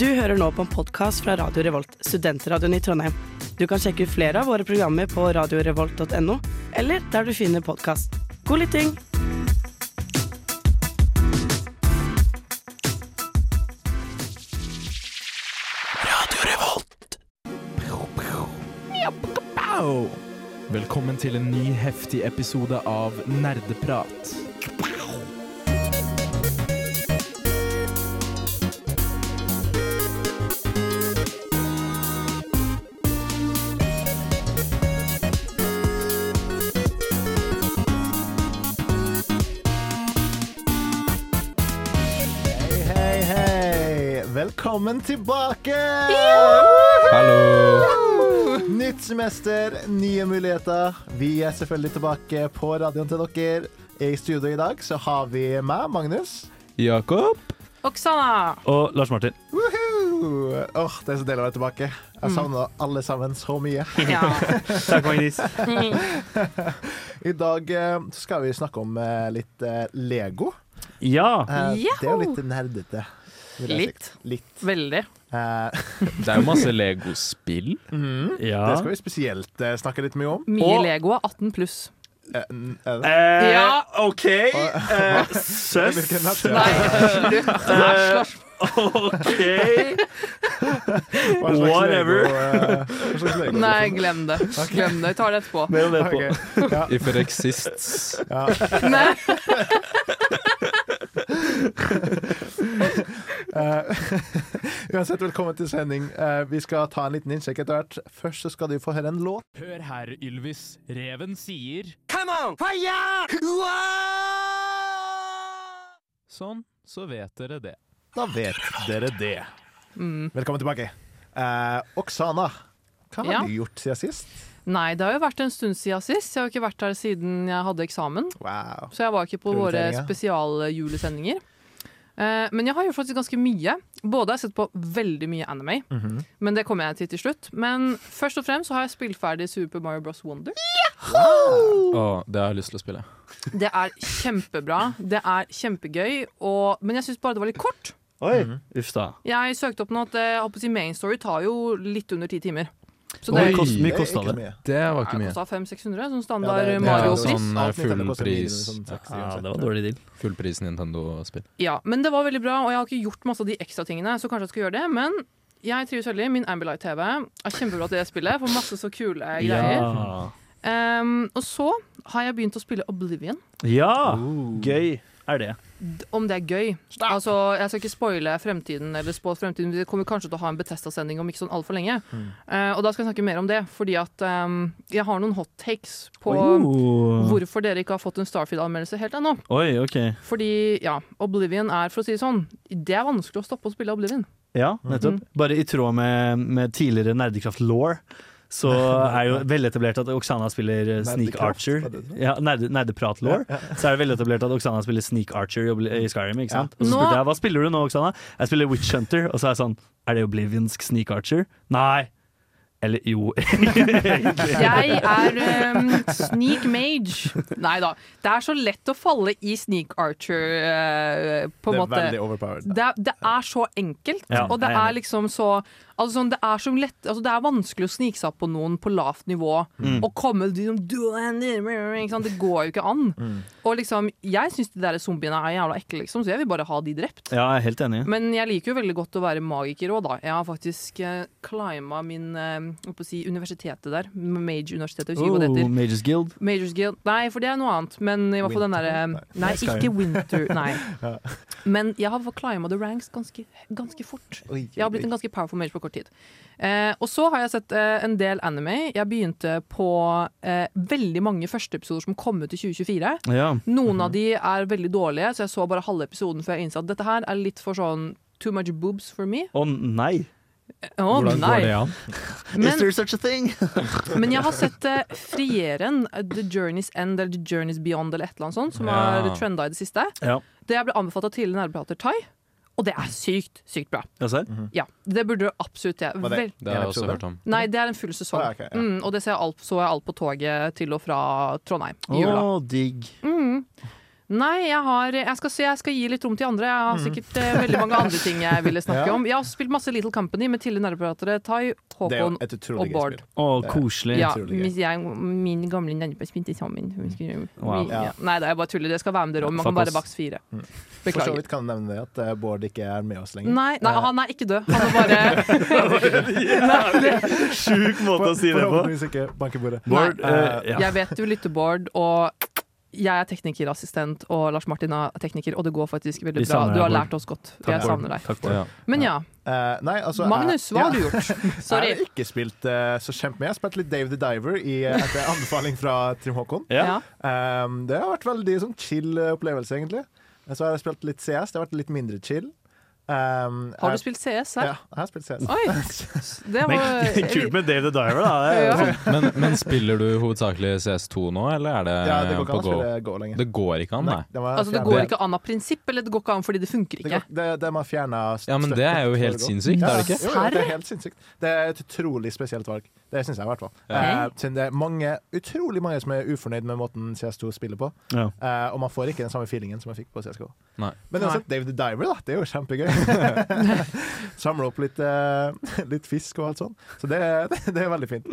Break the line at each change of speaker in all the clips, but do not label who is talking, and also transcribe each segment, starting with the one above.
Du hører nå på en podkast fra Radio Revolt, studentradioen i Trondheim. Du kan sjekke ut flere av våre programmer på radiorevolt.no, eller der du finner podkast. God lytting!
Au! Velkommen til en ny heftig episode av Nerdeprat.
Hei, hei, hei. Velkommen tilbake! Nytt semester, nye muligheter. Vi er selvfølgelig tilbake på radioen til dere. I studio i dag så har vi meg, Magnus.
Jakob?
Oksana!
Og Lars Martin.
Woohoo! Åh, Det er så deilig å være tilbake.
Mm.
Jeg savner alle sammen så mye.
Ja.
Takk, Magnus.
I dag eh, så skal vi snakke om eh, litt eh, Lego.
Ja.
Eh,
Yoho!
Det er jo litt nerdete. vil jeg si.
Litt.
Litt.
Veldig.
Eh, mhm.
Det er jo masse Lego-spill.
ja.
Det skal vi spesielt eh, snakke litt mye om.
Mye
Og-
Lego er 18 pluss.
Eh, n- er det?
Eh,
Ja.
OK. Eh,
Hvilken
Søss.
natt?
Nei, slutt. Lars, Lars.
OK.
Hva slags
Whatever.
Lego, eh, hva slags Lego?
Nei, glem det. Glem det. Vi tar det etterpå.
Mer om det på.
Ok. Ja,
If it exists.
ja.
Nei.
Eh, uansett, velkommen til sending. Eh, vi skal ta en liten innsjekk etter hvert. Først så skal du få høre en låt.
Hør her, Ylvis. Reven sier Sånn, så vet dere det.
Da vet dere det.
Mm.
Velkommen tilbake. Eh, Oksana, hva har
Ja.
du gjort siden sist?
Nei, det har jo vært en stund siden sist. Jeg har ikke vært her siden jeg hadde eksamen.
Wow.
Så jeg var ikke på våre
Prioriteringer.
spesialjulesendinger. Eh, Men jeg har gjort faktisk ganske mye. Både har jeg sett på veldig mye anime,
Mhm.
men det kommer jeg til til slutt. Men først og fremst så har jeg spilt ferdig Super Mario Bros. Wonder.
Å, det har jeg lyst til å spille.
Det er kjempebra. Det er kjempegøy. Og, men jeg syns bare det var litt kort.
Oi.
Mm-hmm.
Uff da.
Jeg søkte opp nå at eh, jeg håper å si main story tar jo litt under ti timer. Så
Hvor
det
Oi.
kost, mye
Det er
kosta
ikke
det?
mye.
Det var ikke mye.
kosta 500-600, sånn
Ja,
standard
det- det er eh,
Mario-pris.
sånn,
alt nytt
full
av det koster
pris.
minimum sånn seks,
eh, Ja,
uansett.
det var dårlig deal.
Fullpris Nintendo-spill.
Ja, men det var veldig bra, og jeg har ikke gjort masse av de ekstra tingene, så kanskje jeg skal gjøre det. Men jeg trives veldig. Min Ambilight-TV er kjempebra til det spillet. Får masse så kule greier.
Ja.
Ehm, og så har jeg begynt å spille Oblivion.
ja.
Uh.
Gøy er det.
D- Om det er gøy. Altså, Jeg skal ikke spoile fremtiden, eller spå fremtiden. Vi kommer kanskje til å ha en Betesta-sending om ikke sånn altfor lenge. Eh, og da skal jeg snakke mer om det, fordi at ehm, jeg har noen hot takes på
Oh.
hvorfor dere ikke har fått en Starfield-anmeldelse helt ennå.
Oi, OK.
Fordi, ja, Oblivion er, for å si det sånn, det er vanskelig å stoppe å spille Oblivion.
Ja, nettopp. Bare i tråd med, med tidligere Nerdekraft-law, så er jo veletablert at Oksana spiller eh, Sneak
Nerdekraft,
Archer.
var det sånn. det?
Ja, nerde, Nerdeprat-law. Så er det veletablert at Oksana spiller Sneak Archer i Obli- i Skyrim. ikke sant? Og så
Nå-
spurte jeg hva spiller du nå, Oksana. Jeg spiller Witch Hunter. Og så er jeg sånn Er det Oblivionsk Sneak Archer? Nei. Eller jo.
Jeg er um, sneak mage. Nei da. Det er så lett å falle i sneak archer, eh, på
Det
en
er
måte.
veldig overpowered.
Det, er- det er så enkelt,
Ja,
og det
jeg er
er
enig.
liksom så Altså sånn, det er så lett altså Det er vanskelig å snike seg opp på noen på lavt nivå
Mm.
og komme liksom, du er nærmere», ikke sant? Det går jo ikke an.
Mm.
Og liksom, jeg syns de der zombiene er jævla ekle, liksom, så jeg vil bare ha de drept.
Ja, jeg er helt enig.
Men jeg liker jo veldig godt å være magiker òg, da. Jeg har faktisk eh, clima min eh, hva skal jeg si, universitetet der. Mage-universitetet, hvis ikke hva det heter.
Oh, Mages Guild.
Majors Guild Nei, for det er noe annet. Men i hvert fall den derre
Winter? Nei.
Nei, ikke Winter. Nei. Men jeg har clima the ranks ganske, ganske fort.
Oi,
Jeg har blitt en ganske powerful mage på kort tid. Eh, og så har jeg sett eh, en del anime. Jeg begynte på eh, veldig mange førsteepisoder som kom ut i 2024.
Ja.
Noen av de er veldig dårlige, så jeg så bare halve episoden før jeg innså at dette her er litt for sånn Too much boobs for me.
Å nei.
Å nei!
an?
Men,
such a thing?
men jeg har sett eh, Frieren, eh, The Journey's End eller The Journey's Beyond eller et eller annet sånt, som
Ja.
har trenda i det siste.
Ja.
Det ble anbefalt av tidligere nærprater Thai, og det er sykt, sykt bra.
Ja, serr?
Ja, Det burde du absolutt gjøre.
Var det-
Vel-
Det har jeg også
Episode?
hørt om.
Nei, det er en full sesong.
Ah, ok, ja.
mm, og det ser jeg alt, så jeg alt på toget til og fra Trondheim i
Å,
jula.
digg.
Mm. Nei, jeg, har, jeg, skal, se- jeg skal gi litt rom til andre. Jeg har sikkert eh, veldig mange andre ting jeg ville snakke
Mm. Ja.
om. Jeg har også spilt masse Little Company med tidligere nerdepratere
Det
Tai,
er jo
Håkon
et utrolig
og
gøy
Bård.
spill.
Å, koselig.
Ja,
utrolig gøy. Mm.
hvis jeg, min gamle nærmere spilte sammen. Vi skulle-
Wow.
vi- ja. Nei, det er bare tuller. Jeg skal være med dere om. Man kan bare bakse
Såpass.
fire.
Mm. For så
Beklager.
vidt kan jeg nevne det at eh, Bård ikke er med oss lenger.
Nei, nei, han er ikke død. Han er bare
Sjuk måte å si det på.
Forhåpentligvis ikke banker bordet.
Bård,
Nei.
eh, ja.
Jeg vet du lytter, Bård, og jeg er teknikerassistent, og Lars Martin er tekniker, og det går faktisk
Vi
veldig bra.
savner deg,
Du har
Bård.
lært oss godt.
Takk,
Jeg
Bård.
savner deg.
Takk, Bård.
Men ja,
Eh, nei, altså,
Magnus,
jeg-
hva
ja,
har du gjort?
Jeg
Sorry.
har ikke spilt eh, så kjempemye. Jeg har spilt litt Dave the Diver i, eh, etter anbefaling fra Trym Håkon.
Ja.
Ja.
Um, det har vært veldig sånn chill eh, opplevelse, egentlig. Men Så har jeg spilt litt CS. Det har vært litt mindre chill. Um,
Har du
jeg-
spilt CS
Ja,
her?
jeg har spilt CS.
Oi! Det
Men
var
kult med Dave the Diver, da. Det er jo-
Ja.
Men, men spiller du hovedsakelig CS2 nå, eller er det,
Ja, det går ikke
på
an å
Go?
spille Go lenger.
Det går ikke an, nei.
det, var
Altså, det
fjernet.
går ikke an av prinsipp, eller det går ikke an fordi det funker
Det,
ikke.
går- det, det man fjernet
Ja, men det er jo
støtten for
helt
Go.
sinnssykt, er det ikke?
Jo, jo, det er helt sinnssykt. Det er et utrolig spesielt valg. Det syns jeg i hvert fall.
Ja.
Eh, siden det er mange, utrolig mange som er ufornøyd med måten CS2 spiller på.
Ja.
Eh, og man får ikke den samme feelingen som jeg fikk på CSGO.
Nei.
Men uansett, Dave the Diver, da. Det er jo kjempegøy. Samle opp litt, eh, litt fisk og alt sånt. Så det, det, er veldig fint.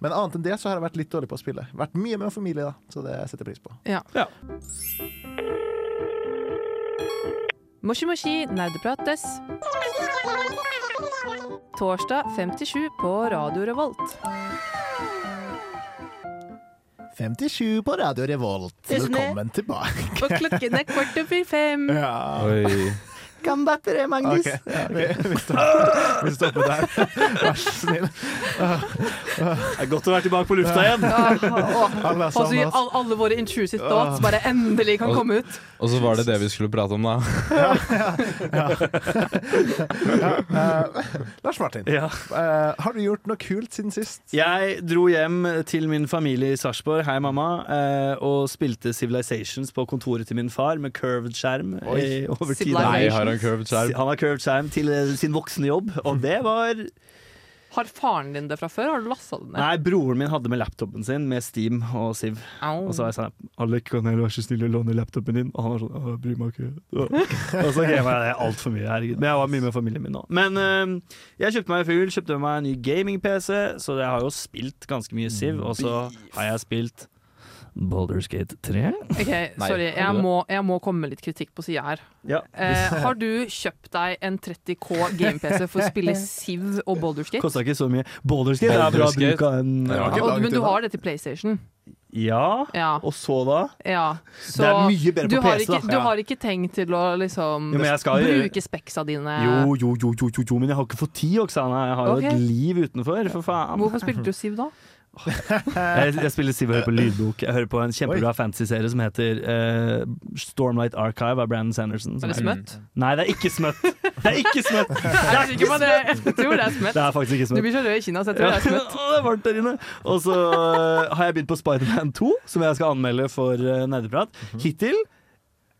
Men annet enn det så har jeg vært litt dårlig på å spille. Vært mye med familie, da. Så det setter jeg pris på.
Moshi Moshi nerdeprates. Torsdag 57 på Radio Revolt.
57 på Radio Revolt.
Tusen takk. Velkommen
tilbake.
Og klokken er kvart over fem.
Ja.
Oi.
Kan battere, Magnus. vi, vi, stopper, vi stopper der. Vær så snill.
Det er godt å være tilbake på lufta igjen.
Ah, åh.
Alle er Ah.
Og så
sammen,
vi-
altså.
all, alle våre intrusive thoughts bare endelig kan
Og-
komme ut.
Og så var det det vi skulle prate om, da.
Eh, Lars Martin,
Ja.
eh, har du gjort noe kult siden sist?
Jeg dro hjem til min familie i Sarpsborg, hei mamma, eh, og spilte Civilizations på kontoret til min far med curved skjerm i over ti
Civilization.
Nei,
dager.
har han curved skjerm?
Han har curved skjerm til eh, sin voksne jobb, og det var
Har faren din det fra før? Har du lasta det ned?
Nei, broren min hadde med laptopen sin med Steam og Siv.
Au.
Og så var jeg sånn Alec, kan jeg være så snill å låne laptopen din? Og han var sånn «Åh, Jeg bryr meg ikke. og så gama jeg det altfor mye. Herregud. Men jeg var mye med familien min nå. Men eh, jeg kjøpte meg en fugl, kjøpte meg en ny gaming-PC, så jeg har jo spilt ganske mye Siv. Og så har jeg spilt Baldur's Gate 3.
Ok,
Nei,
sorry,
har
jeg
du det?
må, jeg må komme med litt kritikk på sida her.
Ja.
Eh, har du kjøpt deg en 30K game-PC for å spille Siv og Boulder Skate?
Kosta ikke så mye. Baldur's Gate er bra
Baldur's Gate.
bruk av en
Ja. ikke
Og,
langt
men du
unna.
har det til PlayStation?
Ja.
Ja.
Og så, da?
ja. Så
det er mye bedre
du
på
har,
PC,
ikke,
da.
du har ikke tenkt til å liksom
Ja, men jeg skal-
bruke speksa dine?
Jo, jo, jo, jo, jo, jo, men jeg har ikke fått tid, Oksana. Jeg har jo
Ok.
et liv utenfor, for faen.
Hvorfor spilte du Siv da?
Jeg, jeg spiller Siv og hører på lydbok. Jeg hører på en kjempebra fantasy-serie som heter eh, Stormlight Archive av Brandon Sanderson. som
Er det
er-
smøtt?
Nei, det er ikke smøtt! Det er ikke smøtt!
Jeg er sikker på det. Jeg tror det er
Det
smøtt.
er faktisk ikke
Du
smøtt.
blir så rød i kinna, så jeg tror
Ja.
det er smøtt.
Å, det er varmt der inne! Og så eh, har jeg begynt på Spiderman 2, som jeg skal anmelde for uh, nerdeprat. Hittil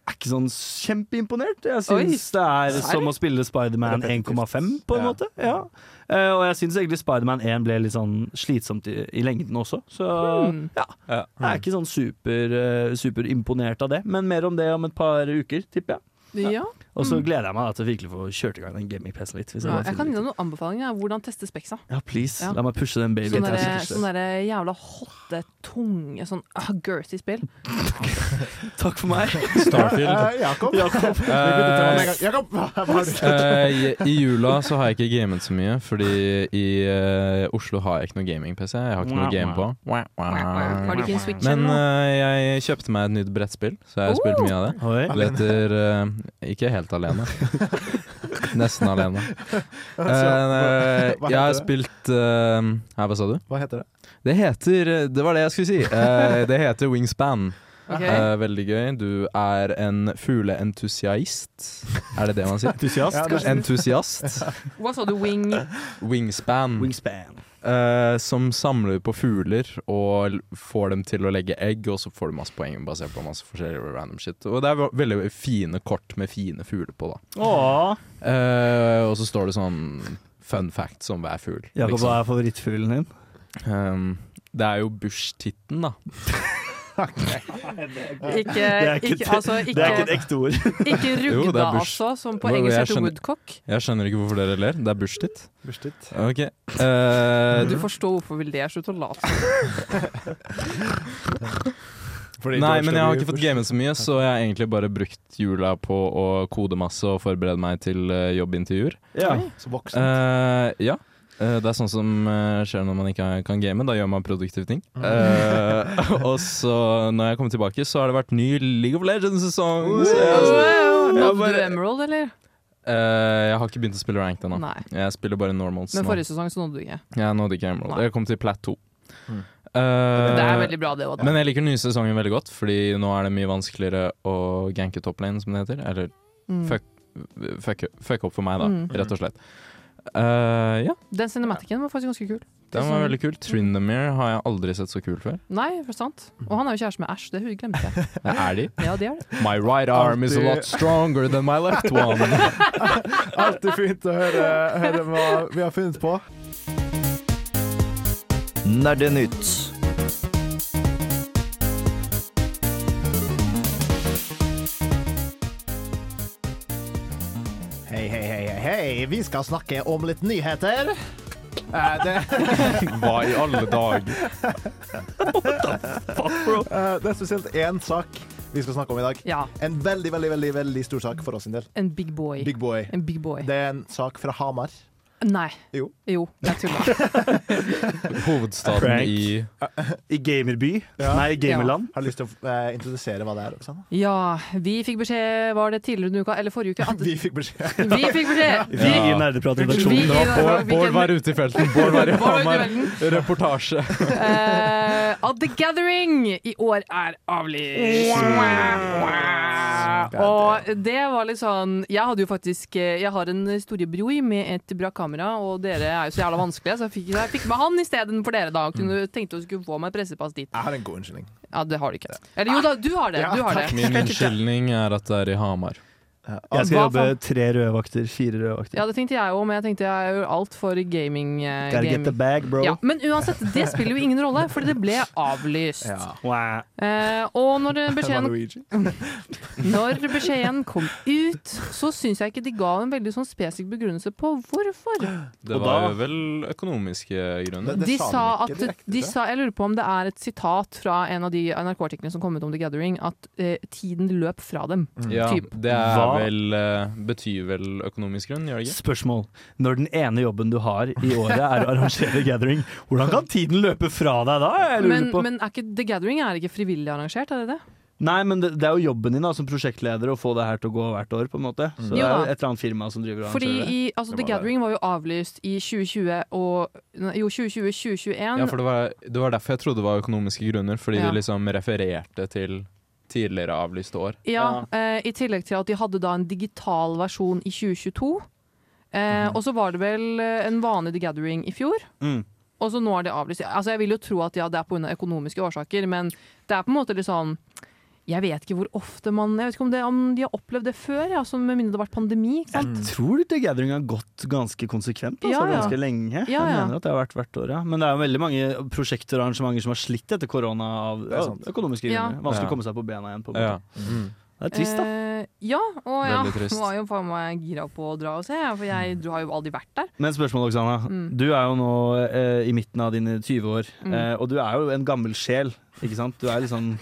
er ikke sånn kjempeimponert. Jeg
Oi.
syns det er som å spille Spiderman
Repetitivt.
1,5, på en
Ja.
måte. Ja. Eh, og jeg syns egentlig Spiderman 1 ble litt sånn slitsomt i, i lengden også, så
Hmm.
ja.
Ja.
Jeg er ikke sånn super, eh, superimponert av det, men mer om det om et par uker, tipper jeg.
Ja.
Og så gleder jeg meg da til å virkelig få kjørt i gang den gaming-PC-en litt. Hvis jeg
Mm. Ja, jeg
bare finner
kan gi
ut.
deg noen anbefalinger. av Hvordan teste speksa.
ja, please,
Ja.
la meg pushe den babyen.
Sånne,
til jeg
der,
sitter
sånne der sånn jævla hotte, tunge, sånn uh, girthy spill.
stille. Takk for meg.
Starfield.
Eh, Jakob?
Jakob.
Eh,
Jakob, hva har du gjort?
eh, i- I jula så har jeg ikke gamet så mye, fordi i eh, Oslo har jeg ikke noe gaming-PC. Jeg har ikke noe å game på.
Har du ikke en switch
Men
ennå?
eh, jeg kjøpte meg et nytt brettspill, så jeg har spilt mye av det.
Oi.
Det heter eh, Ikke helt alene. Nesten alene. Eh,
hva- hva
jeg
heter
har
det?
spilt eh, Hæ, hva sa du?
Hva heter det?
Det heter Det var det jeg skulle si. Eh, det heter Wingspan.
Ok.
Eh, veldig gøy. Du er en fugleentusiast. Er det det man sier?
Entusiast,
Ja, det-
kanskje?
Entusiast.
Hva sa du, wing?
Wingspan.
Wingspan.
eh, som samler på fugler og l- får dem til å legge egg, og så får du masse poeng basert på masse forskjellig random shit. Og det er ve- veldig fine kort med fine fugler på, da.
Åh.
Eh, og så står det sånn fun facts om hver fugl.
Jakob,
liksom.
hva er favorittfuglen din?
Ehm, det er jo bush-titten, da.
Ikke,
er ikke-
ikke, altså,
Det er ikke
ikke,
et ekte ord.
ikke
Jo, det
rugda,
er bush.
altså, som på
Hva-
engelsk
jeg
heter
skjønner-
woodcock.
Jeg skjønner ikke hvorfor dere ler. Det er bursdag ditt.
Bustet.
Ok. Eh,
Du forstår hvorfor vi ler. Slutt å late som.
Fordi
nei,
George
men jeg har
W.
ikke fått
Bush-
gamet så mye, så jeg har egentlig bare brukt jula på å kode masse og forberede meg til eh, jobbintervjuer.
Ja.
Så voksen.
Eh, ja. Eh, det er sånn som eh, skjer når man ikke kan game. Da gjør man produktive ting.
Mm.
Eh, og så, når jeg kommer tilbake, så har det vært ny League of Legends-sesong. Så jeg,
Nådde
bare-
du Emerald, eller?
Eh, jeg har ikke begynt å spille ranked ennå.
Nei.
Jeg spiller bare normals
Men
nå.
forrige sesong så nådde du ikke.
Jeg nådde ikke Emerald.
Nei.
Jeg kom til plat 2.
Mm.
Det er veldig bra, det òg.
Eh, Men jeg liker den nye sesongen veldig godt, Fordi nå er det mye vanskeligere å ganke top lane, som det heter. Eller fuck, fuck opp for meg, da,
Mm.
rett og slett. Eh, ja,
Den cinematicen var faktisk ganske kul.
den
sånn-
var veldig kul. Trindomir har jeg aldri sett så kul før.
Nei, for sant. Og han er jo kjæreste med Ash, det hu- glemte jeg.
Er de?
Ja, det er det.
My right arm is a
Alltid.
lot stronger than my left one.
Alltid fint å høre, høre hva vi har funnet på.
Nerdenytt.
Hei, hei, hei, hei, hei. Vi skal snakke om litt nyheter. Eh, det,
Hva i alle dager?
eh, det er spesielt én sak vi skal snakke om i dag.
Ja,
En veldig, veldig, veldig, veldig stor sak for oss sin del.
en big boy.
Big Boy.
En big boy.
Det er en sak fra Hamar.
Nei.
Jo.
Jo, jeg tulla.
Hovedstaden
Prank.
i
I gamerby.
Ja.
Nei, gamerland.
Har du lyst til å eh, introdusere hva det er? Oksana?
Ja, vi fikk beskjed, var det tidligere denne uka, eller forrige uke, at
Vi fikk beskjed.
vi fikk beskjed!
Vi i
Ja.
Vi
Nerdeprat-redaksjonen.
i
Det var Bård,
hvilken-
Bård var ute i felten. Bård var i
Bård var ute i
Hamar. Reportasje.
Eh, at The Gathering i år er avlyst! Og det var litt sånn Jeg hadde jo faktisk eh, Jeg har en storebror med et bra kamera, og dere er jo så jævla vanskelige, så jeg fikk, jeg fikk med han istedenfor dere, da. Kunne
Mm.
tenkte du skulle få meg pressepass dit.
Jeg har en god unnskyldning.
Ja, det har du ikke. Eller jo da, du har det.
Ja,
Du har det.
Min unnskyldning er at det er i Hamar.
Jeg skal
Hva
jobbe
faen?
tre røde vakter. Fire røde vakter.
Ja, det tenkte jeg òg, men jeg tenkte jeg er jo alt for gaming. eh,
Gotta get
gaming.
the bag, bro.
Ja, men uansett, det spiller jo ingen rolle, for det ble avlyst.
Wow.
Eh, og når beskjeden
Luigi.
Når beskjeden kom ut, så syns jeg ikke de ga en veldig sånn spesifikk begrunnelse på hvorfor.
Det
Og
var
da-
jo vel økonomiske grunner.
Men det
De
sa
sa
de
at
ikke direkte,
de
tror jeg.
sa, Jeg lurer på om det er et sitat fra en av de NRK-artiklene som kom ut om The Gathering, at eh, tiden løp fra dem.
Mm.
Ja,
Typ.
det er
Hva?
vel eh, Betyr vel økonomisk grunn, gjør det ikke?
Spørsmål. Når den ene jobben du har i året er å arrangere gathering, hvordan kan tiden løpe fra deg da? Jeg lurer
Men,
på.
men er ikke, The Gathering er ikke frivillig arrangert, er det det?
Nei, men det, det er jo jobben din da, som prosjektleder å få det her til å gå hvert år, på en måte. Så
Mm. Jo
det er
da.
jo et eller annet firma som driver og
Fordi
arrangerer det.
i, altså,
Det
The
var det.
Gathering var jo avlyst i 2020 og nei, Jo, 2020-2021.
Ja, for det var, det var derfor jeg trodde det var økonomiske grunner, fordi
Ja.
de liksom refererte til tidligere avlyste år.
Ja, eh, I tillegg til at de hadde da en digital versjon i 2022. Eh,
Mhm.
Og så var det vel eh, en vanlig The Gathering i fjor.
Mm.
Og så nå er det avlyst. Altså, jeg vil jo tro at ja, det er pga. økonomiske årsaker, men det er på en måte litt sånn Jeg vet ikke hvor ofte man Jeg vet ikke om, det, om de har opplevd det før, ja, som med mindre det har vært pandemi. Ikke sant?
Jeg tror The Gathering har gått ganske konsekvent,
Mm.
altså
Ja, ja.
ganske lenge.
Ja,
Jeg
ja.
mener at det har vært hvert år, ja. Men det er jo veldig mange prosjekter og arrangementer som har slitt etter korona av
Det er sant.
av økonomiske
Ja.
grunner. Vanskelig
Ja.
å komme seg på bena igjen. på en
Ja.
måte. Det er trist, da.
Eh, ja, og ja,
Veldig trist.
nå
Mm.
var jo faen meg gira på å dra og se, for jeg du har jo aldri vært der.
Men spørsmål, Oksana.
Mm.
Du er jo nå eh, i midten av dine 20 år,
Mm.
eh, og du er jo en gammel sjel, ikke sant? Du er liksom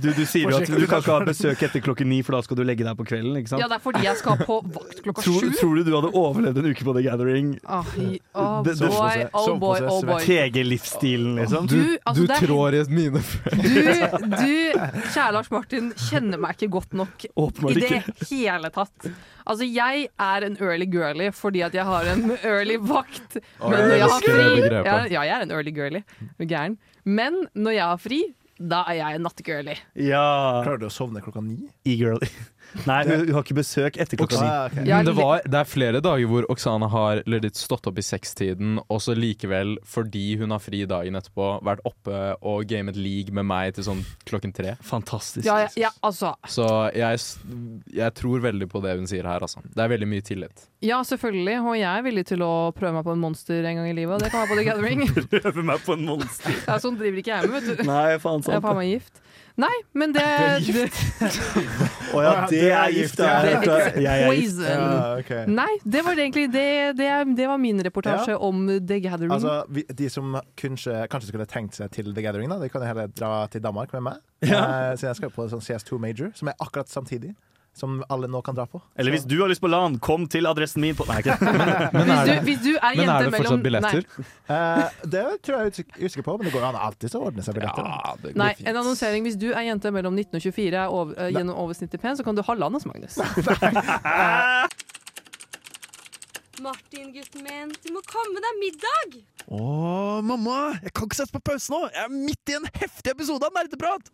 du, du sier jo at du kan ikke ha besøk etter klokken ni, for da skal du legge deg på kvelden, ikke sant?
Ja, det er fordi jeg skal på vakt klokka
tror,
sju.
tror du du hadde overlevd en uke på The Gathering?
Ah, i- oh
Det- det-
boy, oh
Sovepose,
boy, oh
svett.
boy.
TG-livsstilen, liksom?
Du, altså, det er-
i et minefelt.
Du, du, kjære Lars Martin, kjenner meg ikke godt nok i
Åpenbart
det
ikke.
hele tatt. Altså, jeg er en early girly fordi at jeg har en early vakt. Men når jeg har
elsker det
fri
begrepet.
ja, ja, jeg er en early girly. Du er Gæren. Men når jeg har fri, da er jeg en nattegirly.
Ja,
Klarer du å sovne klokka ni?
e-girl. Nei, hun, hun har ikke besøk etter klokka ni.
Ah, ok.
Ja,
det,
li-
var, det er flere dager hvor Oksana har legit stått opp i sekstiden, og så likevel, fordi hun har fri dagen etterpå, vært oppe og gamet league med meg til sånn klokken tre.
Fantastisk.
Ja, ja, ja, altså.
Så jeg, s- jeg tror veldig på det hun sier her, altså. Det er veldig mye tillit.
Ja, selvfølgelig. Og jeg er villig til å prøve meg på en monster en gang i livet, og det kan være på The Gathering.
Prøver meg på en monster.
Det er sånn driver ikke jeg med, vet du.
Nei, faen
Jeg er
sant.
faen meg gift. Nei, men det, det,
Å ja, det er gift. det er-
det er
Jeg er gift.
poison.
Ja, ok.
Nei, det var egentlig det, det, det var min reportasje om The Gathering.
Altså, vi, de som kanskje, kanskje skulle tenkt seg til The Gathering, da, de kan jo heller dra til Danmark med meg. Eh, så jeg skal på en sånn CS2 Major, som er akkurat samtidig. Som alle nå kan dra på.
Eller hvis du har lyst på LAN, kom til adressen min på Nei, ikke det.
Men
hvis,
er det,
du, hvis du er
men
jente
er det
mellom
fortsatt billetter?
Eh, det tror jeg jeg er usikker på, men det går jo an alltid å ordne seg billetter. da.
det
Nei, nei en annonsering. Hvis du er jente mellom 19 og 24 er over, eh, gjennom oversnittet pen, så kan du ha landet hos Magnus.
Martin, gutten min, du må komme deg middag!
Åh, mamma! Jeg kan ikke sette på pause nå! Jeg er midt i en heftig episode av Nerdeprat!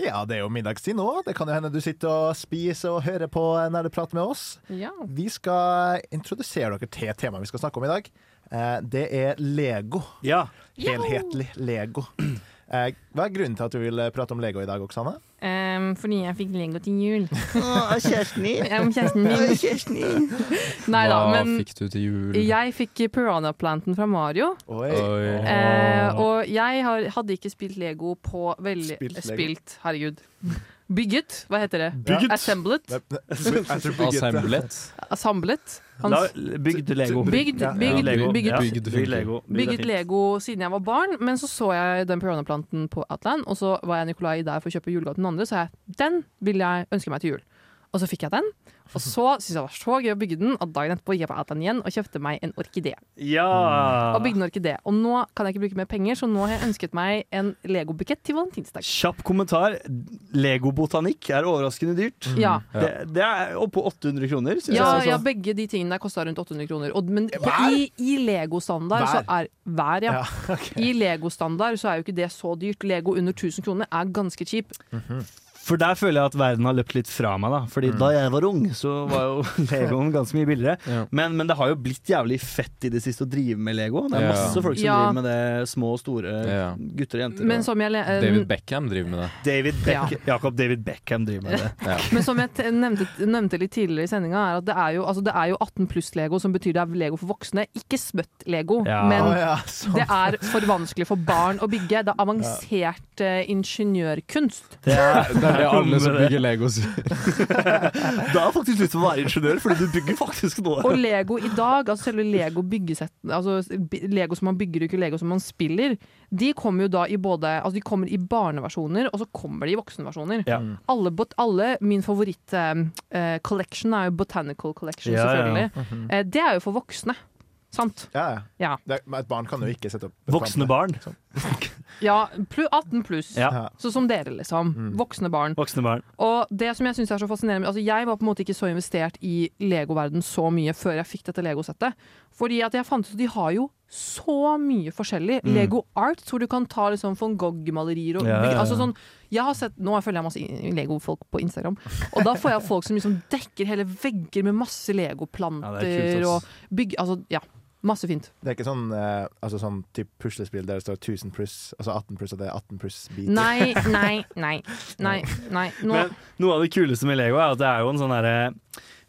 Ja, det er jo middagstid nå. Det kan jo hende du sitter og spiser og hører på eh, når du prater med oss.
Ja.
Vi skal introdusere dere til temaet vi skal snakke om i dag. Eh, det er Lego.
Ja.
Helhetlig Lego. Eh, hva er grunnen til at du vil eh, prate om Lego i dag, Oksane?
Ehm, fordi jeg fikk Lego til jul.
Kjæresten din!
Jeg om kjæresten min.
Kjæresten din!
Nei da,
Hva
men
fikk du til jul?
jeg fikk piranha-planten fra Mario.
Oi.
Oi.
eh, og jeg har, hadde ikke spilt Lego på veldig
Spilt Lego.
Spilt, herregud. Bygget, hva heter det?
Bygget.
Assembled?
Nei, nei, jeg tror bygget-
Assemblet?
Assemblet?
La,
Hans,
bygd Lego.
bygd,
Ja.
bygd,
Lego.
bygget
Ja,
Bygd
Bygd Lego. Bygd er
bygget
fint.
Lego siden jeg var barn, men så så jeg den piranaplanten på Outland, og så var jeg Nikolai der for å kjøpe julegave til noen andre, så jeg, den vil jeg ønske meg til jul. Og så fikk jeg den, og så syntes jeg det var så gøy å bygge den, og dagen etterpå gikk jeg på Outland igjen og kjøpte meg en orkidé.
Ja.
Og bygde en orkidé. Og nå kan jeg ikke bruke mer penger, så nå har jeg ønsket meg en Lego-bukett til valentinsdag.
Kjapp kommentar. Legobotanikk er overraskende dyrt.
Ja,
Det, det er oppå 800 kroner. synes
ja,
jeg,
ja,
altså.
begge de tingene der kosta rundt 800 kroner. Og, men på, i, i Lego-standard så er hver, ja. I Lego-standard så er jo ikke det så dyrt. Lego under 1000 kroner er ganske kjip.
For der føler jeg at verden har løpt litt fra meg. Da
Mm.
Fordi da jeg var ung, så var jo Legoen ganske mye billigere.
Ja.
Men, men det har jo blitt jævlig fett i det siste å drive med Lego. Det er
Ja.
masse folk som
Ja.
driver med det, små og store
Ja.
gutter og jenter.
Men
og-
som jeg, le- eh,
David Beckham driver med det.
David
Ja.
Beckham, Jakob David Beckham driver med det.
men som jeg t- nevnte, nevnte litt tidligere i sendinga, er at det er jo, altså det er jo 18 pluss-lego, som betyr det er Lego for voksne. Ikke spøtt-lego,
Ja.
men
Å ja, sånn.
det er for vanskelig for barn å bygge. Det er avansert eh, ingeniørkunst.
Det er,
Det er det alle som
med det.
bygger Lego sier.
Da er faktisk lyst til å være ingeniør, fordi du bygger faktisk noe.
Og Lego i dag, altså selve Lego-byggesettene altså b- Lego som man bygger, ikke Lego som man spiller, de kommer jo da i både Altså de kommer i barneversjoner, og så kommer de i voksenversjoner.
Ja.
Alle, bot, alle Min favoritt-collection er jo Botanical Collection,
Ja, Mhm. ja, ja.
selvfølgelig. Eh, det er jo for voksne. Sant?
Ja, ja.
Ja.
Det, men et barn kan jo ikke sette opp
Voksne barn.
Ja, plu- 18 pluss.
Ja. Mm.
Ja.
Så som dere, liksom. Voksne barn.
Voksne barn.
Og det som jeg synes er så fascinerende altså Jeg var på en måte ikke så investert i Lego-verden så mye før jeg fikk dette Lego-settet. Fordi at jeg fant ut at de har jo så mye forskjellig. Lego Art, hvor du kan ta liksom von Gogh-malerier og
Mm. Ja, ja, ja.
Altså sånn, jeg har sett, Nå følger jeg masse i- Lego-folk på Instagram, og da får jeg folk som liksom dekker hele vegger med masse
Ja,
Lego-planter
det er kult,
og
ass.
bygg... Altså, ja. Masse fint.
Det er ikke sånn, eh, altså sånn typ puslespill der det står 1000 pluss, altså 18 pluss, og det er 18 pluss-biter.
Nei, nei, nei. Nei, nei. Nå
Men noe av det kuleste med Lego er at det er jo en sånn derre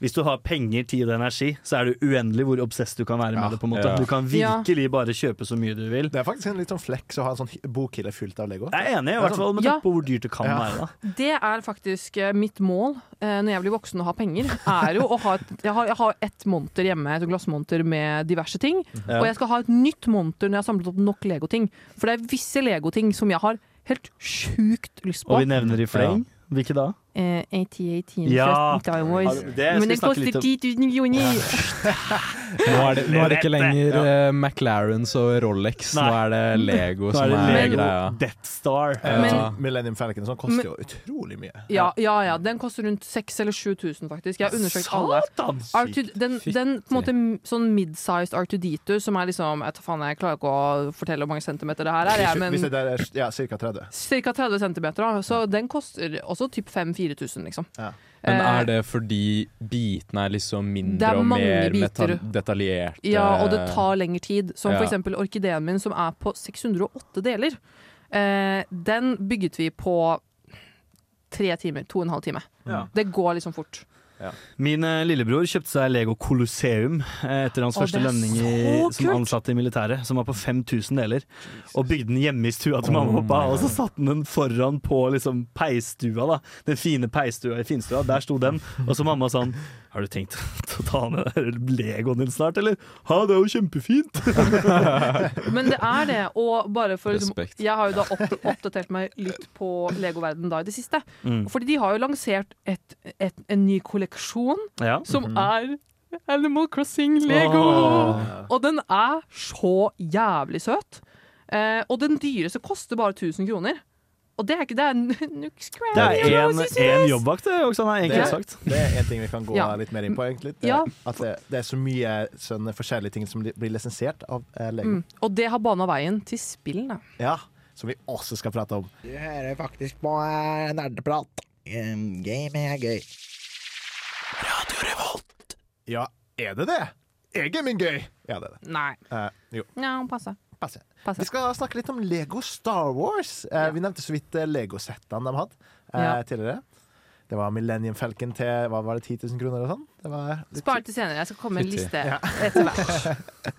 Hvis du har penger, tid og energi, så er det uendelig hvor obsess du kan være med
Ja.
det. på en måte
Ja.
Du kan
Ja.
virkelig bare kjøpe så mye du vil.
Det er faktisk en litt sånn fleks å ha en sånn hi- bokhylle fullt av Lego.
Jeg er enig, i hvert fall med
Ja.
tanke på hvor dyrt det kan
Ja.
være. da
Det er faktisk eh, mitt mål eh, når jeg blir voksen og har penger. Er jo å ha et, jeg, har, jeg har et monter hjemme, et glassmonter med diverse ting.
Mhm.
Og jeg skal ha et nytt monter når jeg har samlet opp nok legoting. For det er visse legoting som jeg har helt sjukt lyst
Og
på.
vi nevner i fleng. Hvilke da?
eh, 8018
Ja.
fra Star Wars.
Det skal
Men
vi
den
snakke litt
koster
om.
10 000 kroner!
Nå er det, nå er det ikke
Helvete.
lenger eh, McLarens og Rolex, nå
Nei.
er det Lego
Nå er
som
det
er
Lego
greia.
Death Star.
Ja.
Men-
Millennium Falcon sånn koster jo utrolig mye.
Ja, ja, ja. Den koster rundt 6000 eller 7000, faktisk. Jeg har undersøkt
Sånn?
alle.
Satan!
R2, den, den på en måte m- sånn mid-sized R2D2, som er liksom Jeg, tar faen, jeg klarer ikke å fortelle hvor mange centimeter det her er, jeg,
Hvis det
men
der er ja, ca. 30.
ca. 30 centimeter. Da. Så den koster også typ 5000-4000, liksom.
Ja.
Men
Eh,
er det fordi bitene er liksom
Det
mindre
er
og
mange
mer meta-
biter.
detaljerte?
Ja, og det tar lengre tid. Som
Eh, Ja.
for eksempel orkideen min, som er på 608 deler. Eh, den bygget vi på tre timer. To og en halv time.
Ja.
Det går liksom fort.
Min eh, lillebror kjøpte seg Lego Colosseum eh, etter hans
Å,
første
det er
lønning i,
så
som
kult!
ansatt i militæret, som var på 5000 deler. Og bygde den hjemme i stua til mamma og pappa, og så satte han den foran på liksom, peisstua. da. Den fine peisstua i finstua, der sto den. Og så mamma sånn Har du tenkt å ta ned den der Legoen din snart, eller? Ha, det er jo kjempefint!
Men det er det. Og bare for liksom,
Respekt.
Jeg har jo da opp, oppdatert meg litt på Legoverden da i det siste.
Mm.
Fordi de har jo lansert et, et, en ny kolleksjon
Ja.
som er Animal Crossing Lego!
Åh.
Og den er så jævlig søt. Eh, og den dyreste koster bare 1000 kroner. Og det er ikke det. er n- Nooks Crab.
Det er én jobbvakt, det, Oksana, enkelt
Det-
sagt.
Det er en ting vi kan gå
Ja.
litt mer inn på, egentlig. Det,
Ja.
At det, det er så mye sånne forskjellige ting som li- blir lisensiert av eh, Lego.
Mm. Og det har bana veien til spillene.
Ja, som vi også skal prate om.
Du hører faktisk på eh, nerdeprat. Em, Game er gøy.
Ja, er det det? Er gaming gøy? Ja, det er det.
Nei.
Eh, jo,
Ja, passe.
passe. Vi
passe.
skal snakke litt om Lego Star Wars. Eh, Vi nevnte så vidt eh, Lego-settene de hadde eh,
Ja.
tidligere. Det var Millennium Falcon til hva var det, 10 000 kroner og sånn. Det var litt
Spar til senere. Jeg skal komme med en
Fytti.
liste
Ja.
etter hvert.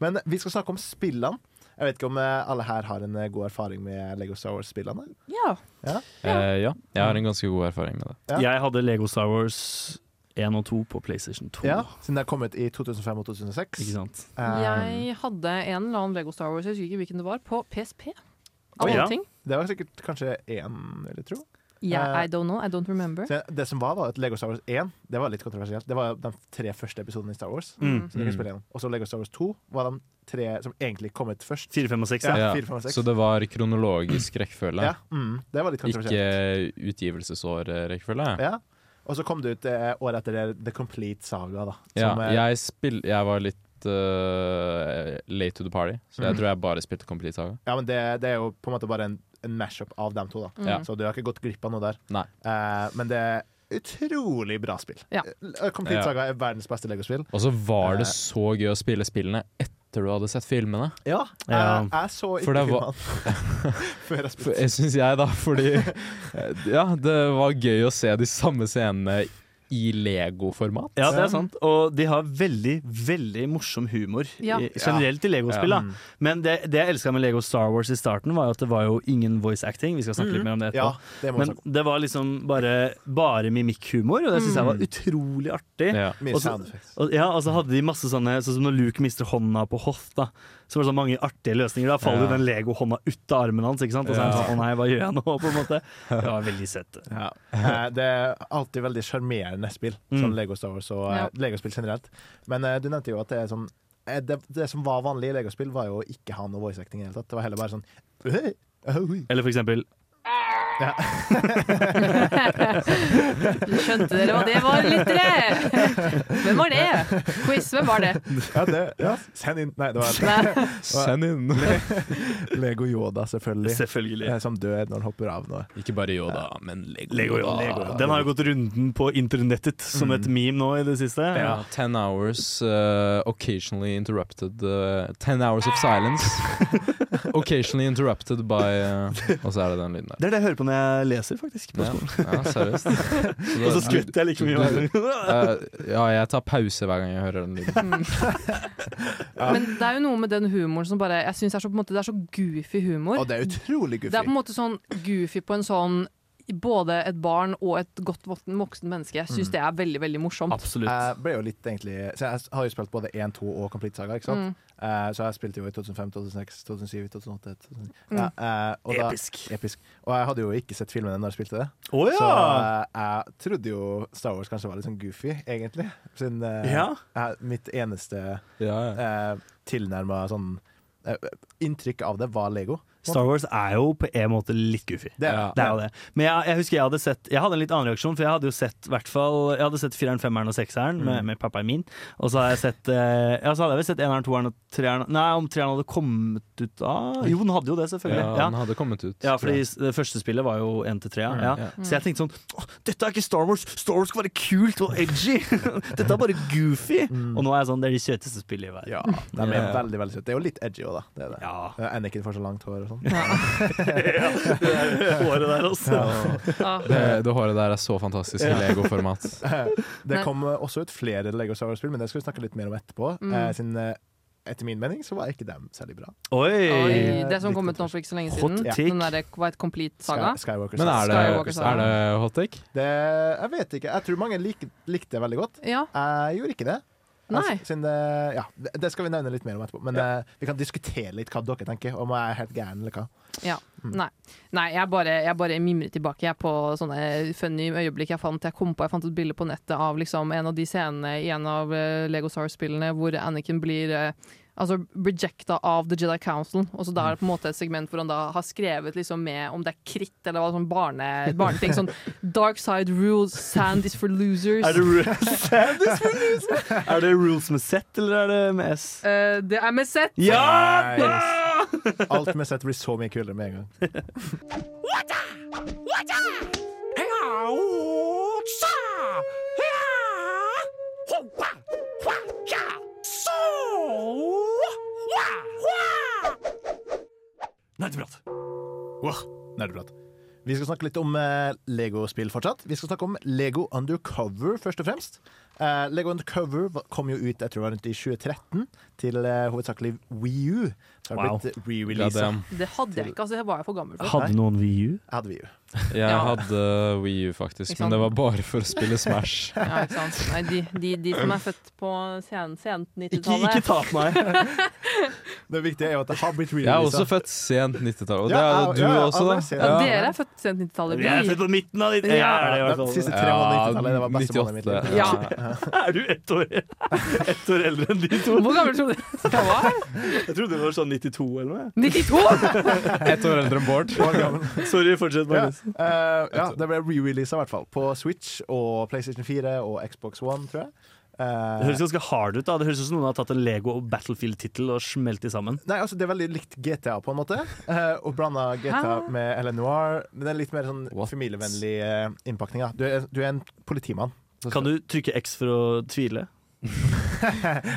Men vi skal snakke om spillene. Jeg vet ikke om eh, alle her har en eh, god erfaring med Lego Star Wars-spillene.
Ja.
Eh, ja, jeg har en ganske god erfaring med det.
Ja.
Jeg hadde Lego Star Wars 1 og 2 på PlayStation 2.
Ja, siden det har kommet i 2005 og
Ikke
2006.
sant?
Eh,
Jeg hadde en eller annen Lego Star Wars, jeg husker ikke hvilken det var, på PSP. Av
Oi,
alle
ja.
ting.
Det var sikkert kanskje én, vil jeg tro.
Yeah,
Eh,
I don't know, I don't remember.
Så det som var, var at Lego Star Wars 1 det var litt kontroversielt. Det var de tre første episodene i Star Wars.
Mm.
som jeg kan spille igjennom. Og så Lego Star Wars 2 var de tre som egentlig kom ut først.
4, 5 og 6, ja.
Ja,
Ja.
fire, fem og seks.
Så det var kronologisk rekkefølge,
Ja, mm, det var litt
ikke
kontroversielt.
utgivelsesår-rekkefølge.
Ja. Og så kom det ut eh, året etter det The Complete Saga, da.
Ja,
eh,
jeg, spill, jeg var litt eh, late to the party, så jeg
Mm.
tror jeg bare spilte Complete Saga.
ja, men det, det er jo på en måte bare en, en mash-up av dem to, da.
Mm.
ja.
Så du har ikke gått glipp av noe der.
Nei.
Eh, men det er utrolig bra spill.
Ja.
Eh, Complete
Ja.
Saga er verdens beste Lego-spill.
Og så var
Eh.
det så gøy å spille spillene etter du hadde sett filmene.
Ja,
Ja.
Jeg, Eh, jeg så
For
ikke
det var-
filmene før jeg
For-
spilte.
Jeg Syns jeg, da, fordi Ja, det var gøy å se de samme scenene i Lego-format.
Ja, det er sant. Og de har veldig, veldig morsom humor
Ja.
i- generelt i Legospill.
Mm.
da. Men det, det jeg elska med Lego Star Wars i starten, var jo at det var jo ingen voice acting. Vi skal snakke litt mer om det
Ja,
etterpå.
det må jeg
Men
snakke om.
det var liksom bare, bare mimikkhumor, og det syns jeg var utrolig artig.
Ja.
Mye
Også-
sound effects.
Og, ja, og så hadde de masse sånne Sånn som når Luke mister hånda på Hoth da, Så var det så mange artige løsninger Da faller jo
Ja.
den Lego-hånda ut av armen hans Ikke sant? Og så er han
Ja.
sånn, å nei, hva gjør jeg nå? På en måte Det var veldig søtt
Ja. Eh, Det er alltid veldig sjarmerende spill, som
Mm.
Lego Star Wars og
Ja.
ja. Legospill generelt. Men eh, du nevnte jo at det er sånn eh, det, det som var vanlig i Legospill, var jo å ikke ha noe voice acting i det hele tatt. Det var heller bare sånn «Øy, øy».
Eller for eksempel
Skjønte dere hva det var, lyttere? Hvem var det? Quiz, hvem var det?
ja, det, ja, send inn Nei, det var
Nei.
Send inn!
Lego Yoda, selvfølgelig.
Selvfølgelig
Eh, Som dør når han hopper av noe.
Ikke bare Yoda, men Lego.
Lego, ja, Lego. Den har jo gått runden på internettet Som et meme nå i det siste
Ja. Ten hours eh, occasionally interrupted eh, Ten hours of silence. occasionally interrupted by eh, Og så er det den lyden der.
Det er det jeg hører på når jeg leser faktisk på
Ja,
skolen
ja seriøst.
Og så skvetter jeg like mye hver gang.
Eh, ja, jeg tar pause hver gang jeg hører den lyden.
Mm. Men det er jo noe med den humoren som bare Jeg synes det er så, på en måte, det er så goofy humor.
Og det er utrolig
Det er på
goofy.
en måte sånn goofy på en sånn både et barn og et godt voksen voksen menneske syns det er veldig veldig morsomt.
Absolutt.
Jeg ble jo litt egentlig så Jeg har jo spilt både 1, 2 og Complete Saga, ikke
Mm.
Mm.
sant? Eh, så jeg spilte jo i 2005, 2006, 2007, 2008 2009. Ja, eh, og da-
Mm. Episk.
episk. Og jeg hadde jo ikke sett filmene når jeg spilte det.
Å
Så
ja!
eh, jeg trodde jo Star Wars kanskje var litt sånn goofy, egentlig. Siden eh,
Ja.
jeg- mitt eneste
Ja, ja.
eh, tilnærma sånn eh, inntrykk av det var Lego.
Star Wars er jo på en måte litt goofy.
Det,
Ja.
Det er jo det. Men jeg, jeg husker jeg hadde sett Jeg hadde en litt annen reaksjon, for jeg hadde jo sett i hvert fall Jeg hadde sett fireren, femmeren og sekseren med, med pappaen min. Og så hadde jeg sett eh, Ja, så hadde jeg vel sett eneren, toeren og treeren Nei, om treeren hadde kommet ut da Jo, den hadde jo det, selvfølgelig.
ja,
Ja,
han hadde kommet ut.
ja. fordi s- det første spillet var jo 1 til 3.
Ja.
Ja.
Mm.
Så jeg tenkte sånn «Åh, Dette er ikke Star Wars! Star Wars skal være kult og edgy! Dette er bare goofy! Og nå er jeg sånn Det er de søteste spillene i verden.
Mm. Ja, de er
Ja.
veldig veldig søte. Det er jo litt edgy òg, da. Det er det.
Ja.
Eh, Anakin får så langt hår og sånn.
Det er håret der, altså.
Ja.
Det, det håret der er så fantastisk i Lego-format.
Det
Nei.
kom eh, også ut flere Lego Star Wars-spill, men det skal vi snakke litt mer om etterpå.
Mm.
Eh, siden, eh, etter min mening så var ikke dem særlig bra.
Oi!
Oi, det som kom ut nå for ikke så lenge
Hot
siden.
take.
Den derre White Complete Saga.
Sky, Skywalker
Men er det,
Skywalker-saga.
er det hot take?
Det, jeg vet ikke. Jeg tror mange lik, likte det veldig godt.
Ja.
Jeg gjorde ikke det.
Nei.
Altså, siden det, ja, det, det skal vi nevne litt mer om etterpå. Men eh, vi kan diskutere litt hva dere tenker. Om jeg er helt gæren eller hva.
Ja. Nei. Nei, jeg bare, jeg bare mimrer tilbake jeg på sånne funny øyeblikk jeg fant. Jeg kom på, jeg fant et bilde på nettet av liksom en av de scenene i en av eh, Lego Star Wars-spillene hvor Anakin blir eh, Altså rejecta av The Jedi Council. Og så da er det på en måte et segment hvor han da har skrevet liksom med om det er kritt eller hva sånn barne, barneting. Sånn Dark side rules, sand is for losers.
Er det, ru- Sand is for losers. er det rules med Z, eller er det med S?
Eh, det er med sett!
Ja!
Alt med sett blir så mye kulere med en gang.
Nerdeprat.
Wow, nerdeprat. Vi skal snakke litt om eh, Lego-spill fortsatt. Vi skal snakke om Lego Undercover først og fremst. Eh, Lego Undercover va- kom jo ut jeg tror det var rundt i 2013 til eh, hovedsakelig Wii U. Så har det
Wow.
blitt re-releasa.
Goddamn.
Det hadde jeg ikke, altså det var jeg for gammel for.
Hadde noen VU?
Jeg hadde Wii U.
Jeg
Ja.
hadde Wii U, faktisk,
Ikke sant?
men det var bare for å spille Smash.
Ja, ikke sant? Nei, de, de, de som er født på sen, sent
Ikke, ikke
90-tallet
ta på meg.
Det viktige er jo at det har blitt
Jeg er også
re-releasa.
født sent 90-tall, og det
Ja,
er jo
ja, ja,
du også,
alle er
da.
sent.
ja, Dere er født sent 90-tallet.
Jeg er født
Vi-
på midten av ditt.
Ja.
Jeg er det, i hvert
De
fall.
siste tre månedene i 90-tallet, det var beste måneden i mitt liv.
98.
Ja.
Er du ett år, ett år eldre enn de to?
Hvor gammel tror du jeg var?
Jeg trodde det var sånn 92 eller noe.
92?
Ett år eldre enn Bård.
Sorry, fortsett.
Ja,
Magnus.
eh, ja, det ble re-releasa i hvert fall. På Switch og PlayStation 4 og Xbox One, tror jeg. Eh,
Det høres ganske hard ut. da Det høres ut som noen har tatt en Lego og Battlefield-tittel og smelt de sammen.
Nei, altså Det er veldig likt GTA, på en måte. Eh, og blanda GTA med Ellen Noir. Men det er litt mer sånn
What?
familievennlig eh, innpakning. da. Du, er- du er en politimann. Så-
Kan du trykke X for å tvile?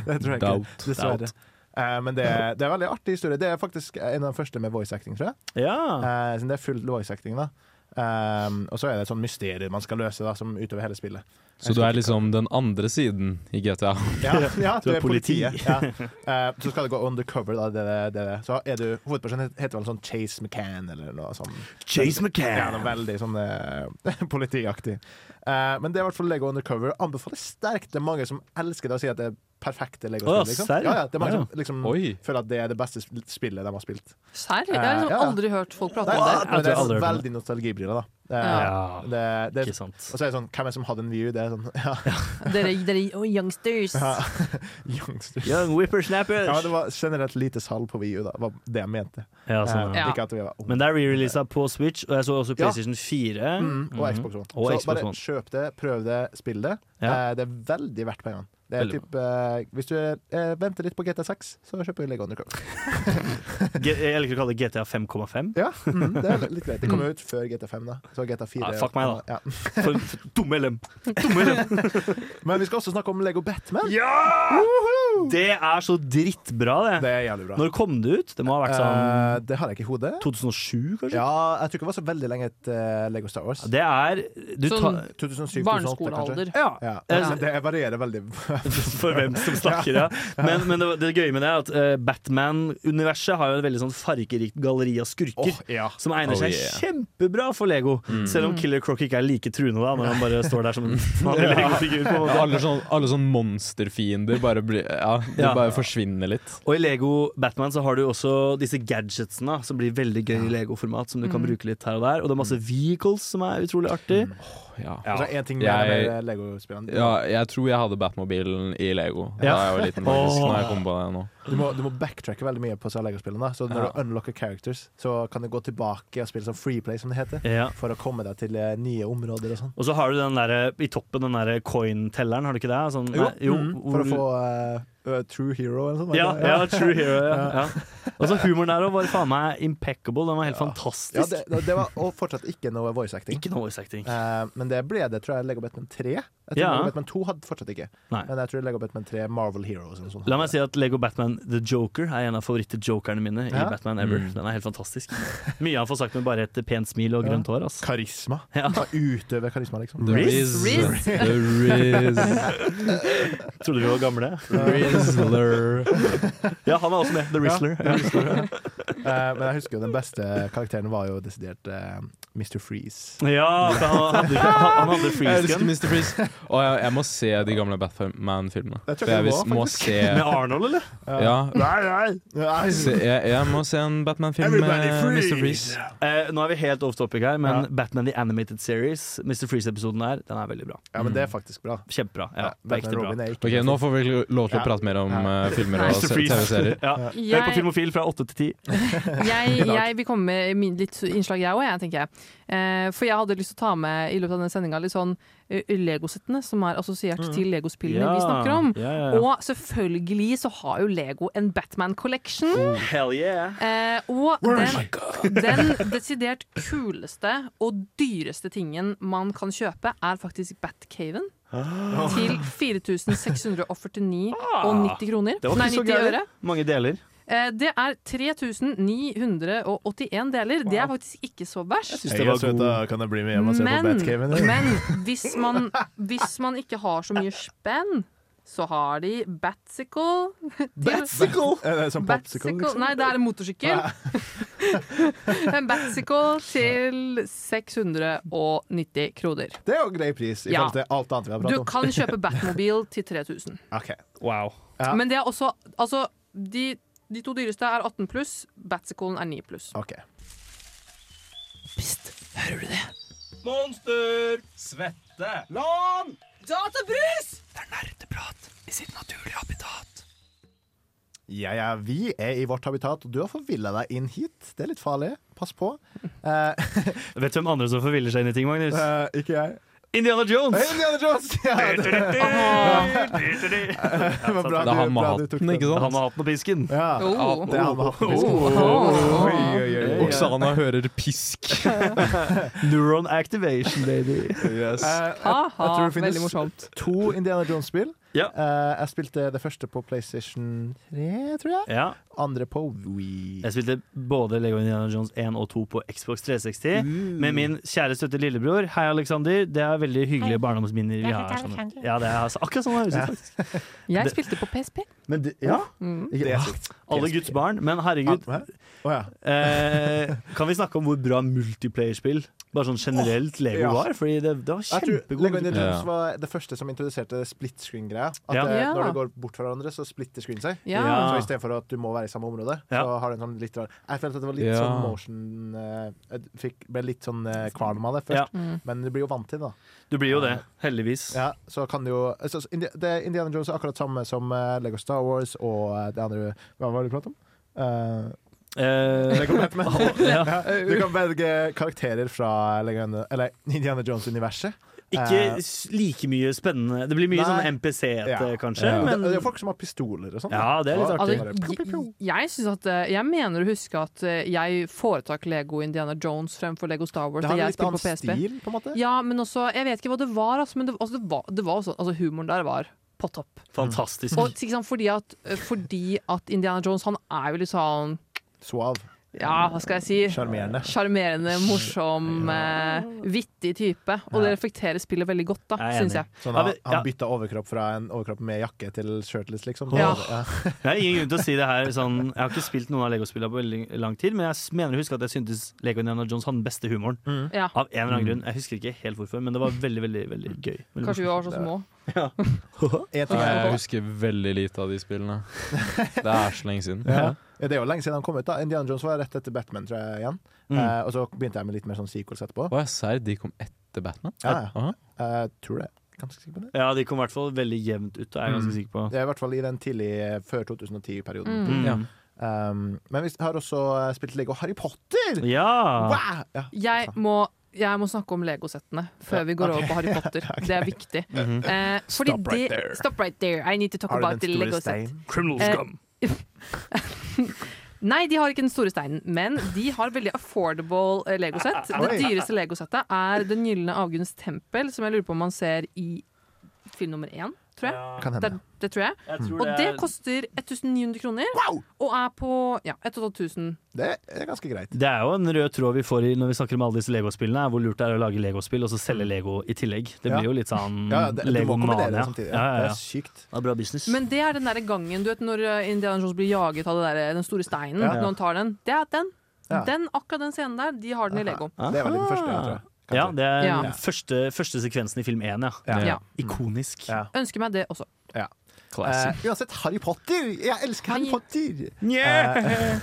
det tror jeg
Doubt.
ikke. Dessverre. Eh, men det er, det er en veldig artig historie. Det er faktisk en av de første med voice acting, tror jeg.
Ja.
Eh, så det er full voice acting, da. Eh, og så er det et sånn mysterium man skal løse da, som utover hele spillet.
Så du er liksom den andre siden i GTA.
Ja, ja
Du er politi.
Ja. Eh, så skal det gå undercover, da. Det, det, det. Så er du Hovedpersonen heter vel sånn Chase McCann eller noe sånt.
Chase
Ja, det
McCann.
er veldig sånn eh, politiaktig. Eh, men det er i hvert fall Lego Undercover. Anbefaler sterkt. Det er mange som elsker det og sier at det er perfekte
Å,
Lego-spill. Liksom.
serr?
Ja, ja, det er mange
Ja.
som liksom
Oi.
føler at det er det beste sp- spillet de har spilt.
Serr? Jeg har
Eh, ja,
liksom
ja.
aldri hørt folk
Nei,
prate om
det,
det.
tror
men det
jeg aldri
er
har hørt
veldig nostalgibriller, da. Eh,
Ja.
det, det,
Ikke sant.
og så er det sånn Hvem er det som hadde en VU? Det er sånn ja,
Dere, dere oh, youngsters.
ja, youngsters.
Young whippersnappers.
Ja, det var generelt lite salg på VU, da. Var det jeg mente.
Ja, sånn,
Eh,
ja.
Ja.
Ikke at vi var unge.
Men det er re-releasa på Switch, og jeg så også PlayStation 4.
Mm, og
Mhm.
Xbox One.
Og
så
Xbox
bare
One.
kjøp det, prøv det, spill det.
Ja.
Eh, det er veldig verdt pengene. Det er
Veldig
typ, eh, hvis du eh, venter litt på GT6, så kjøper du Lego Undercover.
G- Jeg liker å kalle det GTA 5,5.
Ja, mm, det er litt greit. Det kommer ut før GT5, da. Så GT4
Ah, fuck meg,
Ja.
For, for dumme lem.
Men vi skal også snakke om Lego Batman.
Ja! Det er så drittbra, det.
Det er jævlig bra.
Når kom det ut? Det må ha vært sånn
Eh, det har jeg ikke i hodet.
2007, kanskje?
Ja, jeg tror ikke det var så veldig lenge etter eh, Lego Star Wars.
Det er du
Sånn
tar-
2007-2008,
Barneskolealder.
ja.
Ja.
Ja.
Men Det varierer veldig.
For hvem som snakker, ja. Men, men det, det gøye med det er at eh, Batman-universet har jo et veldig sånn fargerikt galleri av skurker.
Åh, ja.
Som egner
Oh,
seg
yeah.
kjempebra for Lego. Selv om Killer Croc ikke er like truende da når han bare står der som en vanlig Lego-figur. på en måte.
Alle sånn, alle sånn monsterfiender bare blir Ja, de
Ja.
bare forsvinner litt.
Og i Lego Batman så har du også disse gadgetsene da, som blir veldig gøy i Lego-format. Som du kan bruke litt her og der Og det er masse vehicles som er utrolig artig.
Ja.
Og så en ting mer
Jeg-
med Lego-spillene.
ja, jeg tror jeg hadde Batmobilen i Lego da
Ja.
jeg var liten. faktisk,
Åh.
Når jeg kom på det nå.
Du, må, du må backtracke veldig mye på disse Lego-spillene. Så når du unlocker characters, så kan du gå tilbake og spille som freeplay, som det heter.
Ja.
For å komme deg til eh, nye områder og sånn.
Og så har du den der, i toppen den der coin-telleren, har du ikke det? Sånn,
Jo.
nei, jo
Mm,
hvor
For å
du-
få eh, uh, True Hero eller noe sånt.
Ja,
var det?
ja, True Hero. Ja. Ja. Og så humoren der også var faen meg impeccable. Den var helt fantastisk.
Ja, det, det var og fortsatt ikke noe voice acting.
Ikke noe voice acting.
Eh, men det ble det, tror jeg, Lego Batman 3. Jeg tror
Ja.
Lego Batman 2 hadde fortsatt ikke.
Nei.
Men jeg tror Lego Batman 3, Marvel Heroes eller noe sånt.
La meg si at Lego Batman The Joker er en av favoritt-jokerne mine i
Ja.
Batman Ever. Den er helt fantastisk. Mye han får sagt med bare et pent smil og grønt hår. Altså.
Karisma.
Ja.
Han utøver karisma, liksom.
The
Riz?
Riz. The Riz.
Trodde vi var gamle.
Rizzler.
Ja, han er også med. The Rizzler. Ja.
Eh, men jeg husker jo den beste karakteren var jo desidert eh, Mr. Freeze.
for han hadde, han, han hadde
Jeg
freeze
elsker
gun.
Mr. Freeze. Og jeg, jeg må se de gamle Batman-filmene.
Jeg tror
For Jeg
jeg
vis-
må,
må se
Med Arnold, eller?
Ja.
Nei, nei! nei.
Se, jeg, jeg må se en Batman-film med Mr. Freeze.
Eh, nå er vi helt off topic her, men
Ja.
Batman The Animated Series, Mr. Freeze-episoden her, den er veldig bra.
Ja, men det er faktisk bra.
Kjempebra. Ja,
Ja,
det er
Batman
ekte bra.
Robin er ikke
Ok, Nå får vi lov til å
Ja.
prate mer om
Ja.
eh, filmer og
Mr.
se-
Freeze.
TV-serier.
Ja. Hør på
Jeg,
Filmofil fra åtte til ti.
jeg, jeg vil komme med min- litt innslag, jeg òg, tenker jeg. Eh, for jeg hadde lyst til å ta med i løpet av denne sendinga litt sånn eh, Lego-settene som er assosiert til Lego-spillene vi snakker om.
Ja, ja, ja.
Og selvfølgelig så har jo Lego en Batman-collection.
Hell yeah!
Eh, og
Oh
den, den desidert kuleste og dyreste tingen man kan kjøpe, er faktisk Batcaven.
Ah.
Til 4649 og 90 kroner.
Det var ikke
Nei,
så
90
gærent.
øre.
Mange deler.
Eh, det er 3981 deler. Det er faktisk ikke så verst.
Synes det var god.
kan jeg bli med
Men, men hvis, man, hvis man ikke har så mye spenn, så har de Batsicle.
Batsicle! Er det sånn popsicle?
Batsicle
Liksom?
Nei, det er en motorsykkel. en Batsicle til 690 kroner.
Det er jo grei pris i
Ja.
forhold til alt annet vi har
Du
pratet om.
kan kjøpe Batmobil til 3000.
Ok.
Wow.
Ja.
Men det er også Altså, de, de to dyreste er 18 pluss, Batsiclen er 9 pluss.
ok.
Pst, hører du det?
Monster! Svette!
Ja, ja, vi er i vårt habitat, og du har forvilla deg inn hit. Det er litt farlig. Pass på. Eh,
Vet du hvem andre som forviller seg inn i ting, Magnus?
eh, ikke jeg.
Indiana Jones!
Hey, Indiana Jones! Ja, det, det var bra,
Det er
du-
han med
bra du tok
hatten, ikke
Han
sant?
har hatten og pisken.
Ja.
Oh.
Det er han med hatten.
Oh.
Oi, oi, oi, oi.
Oksana hører pisk.
Neuron activation, baby.
Eh,
Aha,
tror det finnes-
veldig morsomt.
to Indiana Jones-spill.
Ja.
Eh, jeg spilte det første på PlayStation 3, tror jeg.
Ja,
Andre på Wii.
Jeg spilte både Lego Indiana Jones 1 og 2 på Xbox 360
Mm.
med min kjære støtte lillebror. Hei, Alexander. Det er veldig hyggelige barndomsminner vi har. sammen. Ja, det er akkurat sånn det høres ut, faktisk.
Jeg
Det-
spilte på PSP.
Men det, ja,
Mm.
det er sykt.
Alle Guds barn. Men herregud,
Hæ? Å ja.
eh, kan vi snakke om hvor bra multiplayerspill, bare sånn generelt, Lego
ja.
var? Fordi det, det var
Jeg tror
kjempegod
Lego Indiana Jones
Ja.
var det første som introduserte split screen-greia. At
Ja.
eh,
Ja.
Når du går bort fra hverandre, så splitter screen seg.
Ja.
Ja.
Så Istedenfor at du må være i samme område, så
Ja.
har du en sånn litt rar Jeg følte at det var litt
Ja.
sånn motion eh, Jeg fikk, ble litt sånn eh, kvalm av det
Ja.
først, men du blir jo vant til det. da.
Du blir jo det, heldigvis.
Ja, så kan du jo så, så, Indi- det, Indiana Jones er akkurat samme som eh, Lego Star Wars og eh, det andre Hva var det du pratet om? Eh,
Eh,
Lego Batman.
ja.
Ja, du kan velge karakterer fra Lego, eller Indiana Jones-universet.
Ikke
Eh,
s- like mye spennende. Det blir mye
Nei.
sånn MPC-ete,
Ja.
kanskje.
Ja.
Det,
Men
det er folk som har pistoler og sånn.
Ja, det er litt artig.
Altså, jeg, jeg, synes at, eh, jeg mener å huske at eh, jeg foretrakk Lego Indiana Jones fremfor Lego Star Wars
Det
da
har en
jeg
litt
spilte
annen
på PSP.
stil, på en måte.
Ja, men også, jeg vet ikke hva det var, altså, men det, altså, det var, det var sånn, altså, humoren der var på topp.
Fantastisk.
Mm.
Og, ikke sant, fordi, at, eh, fordi at Indiana Jones han er jo litt sånn
Suav.
Ja, hva skal jeg si?
Sjarmerende.
Sjarmerende, morsom, eh, vittig type. Og det reflekterer spillet veldig godt, da,
Jeg er
syns
enig.
jeg.
Sånn,
Ja,
han,
men- ja.
han bytta overkropp fra en overkropp med jakke til shirtless, liksom.
Ja.
Det er ingen grunn til å si det her sånn Jeg har ikke spilt noen av Lego-spillene på veldig lang tid, men jeg s- mener å huske at jeg syntes Lego Indiana Jones hadde den beste humoren.
Ja.
Av en eller annen grunn. Jeg husker ikke helt hvorfor, men det var veldig, veldig veldig gøy. Veldig
Kanskje vi var så små.
En ting er,
Jeg husker veldig lite av de spillene. Det er så lenge siden.
ja. Det er jo lenge siden han kom ut. da Indiana Jones var rett etter Batman, tror jeg. igjen
Mm.
eh, Og så begynte jeg med litt mer sånn sequels etterpå.
Hva er serr? De kom etter Batman?
Ja, ja.
Aha.
Eh, tror det. Ganske sikker på det.
Ja, de kom i hvert fall veldig jevnt ut, er jeg ganske sikker på.
Det er i hvert fall i den tidlig eh, før 2010-perioden.
Mm.
Ja.
Um, men vi har også eh, spilt Lego Harry Potter!
Ja!
Wow! Ja.
Jeg må, jeg må snakke om Lego-settene før vi går over på Harry Potter. Det er viktig.
Mhm.
Eh, fordi
Stop right
det-
there.
Stop right there. I need to talk
Har
about
du
the
den store
Lego-sett.
steinen?
Criminal
Eh,
scum.
Nei, de har ikke den store steinen, men de har veldig affordable eh, Lego-sett. Det
Oi.
dyreste Lego-settet er Den gylne avgrunns tempel, som jeg lurer på om man ser i film nummer én, tror jeg.
Kan
Det,
hende.
er- det tror jeg.
Jeg tror
Og det
er-
koster 1900 kroner,
Wow!
og er på ja, 1500.
Det er ganske greit.
Det er jo en rød tråd vi får i når vi snakker om alle disse Lego-spillene, er hvor lurt det er å lage Lego-spill og så selge Lego i tillegg. Det
Mm. Ja.
blir jo litt sånn
Ja, det, du må kombinere det
Lego-mania.
samtidig. Ja.
Ja, ja,
Det
ja.
er sykt.
Det er bra business.
Men det er den der gangen du vet, når eh, Indiana Jones blir jaget av det der, eh, den store steinen.
Ja.
Når han tar den. Det er den.
Ja.
den. Akkurat den scenen der, de har den i Lego.
Det er vel den første, jeg tror jeg. Kanskje.
Ah. ja, det er
Ah. Ja.
Første, første sekvensen i film én, ja.
Ja.
Ja.
Ikonisk.
Ja.
Ønsker meg det også.
Classic.
Eh, uansett, Harry Potter! Jeg elsker Harry
Hei.
Potter!
Eh,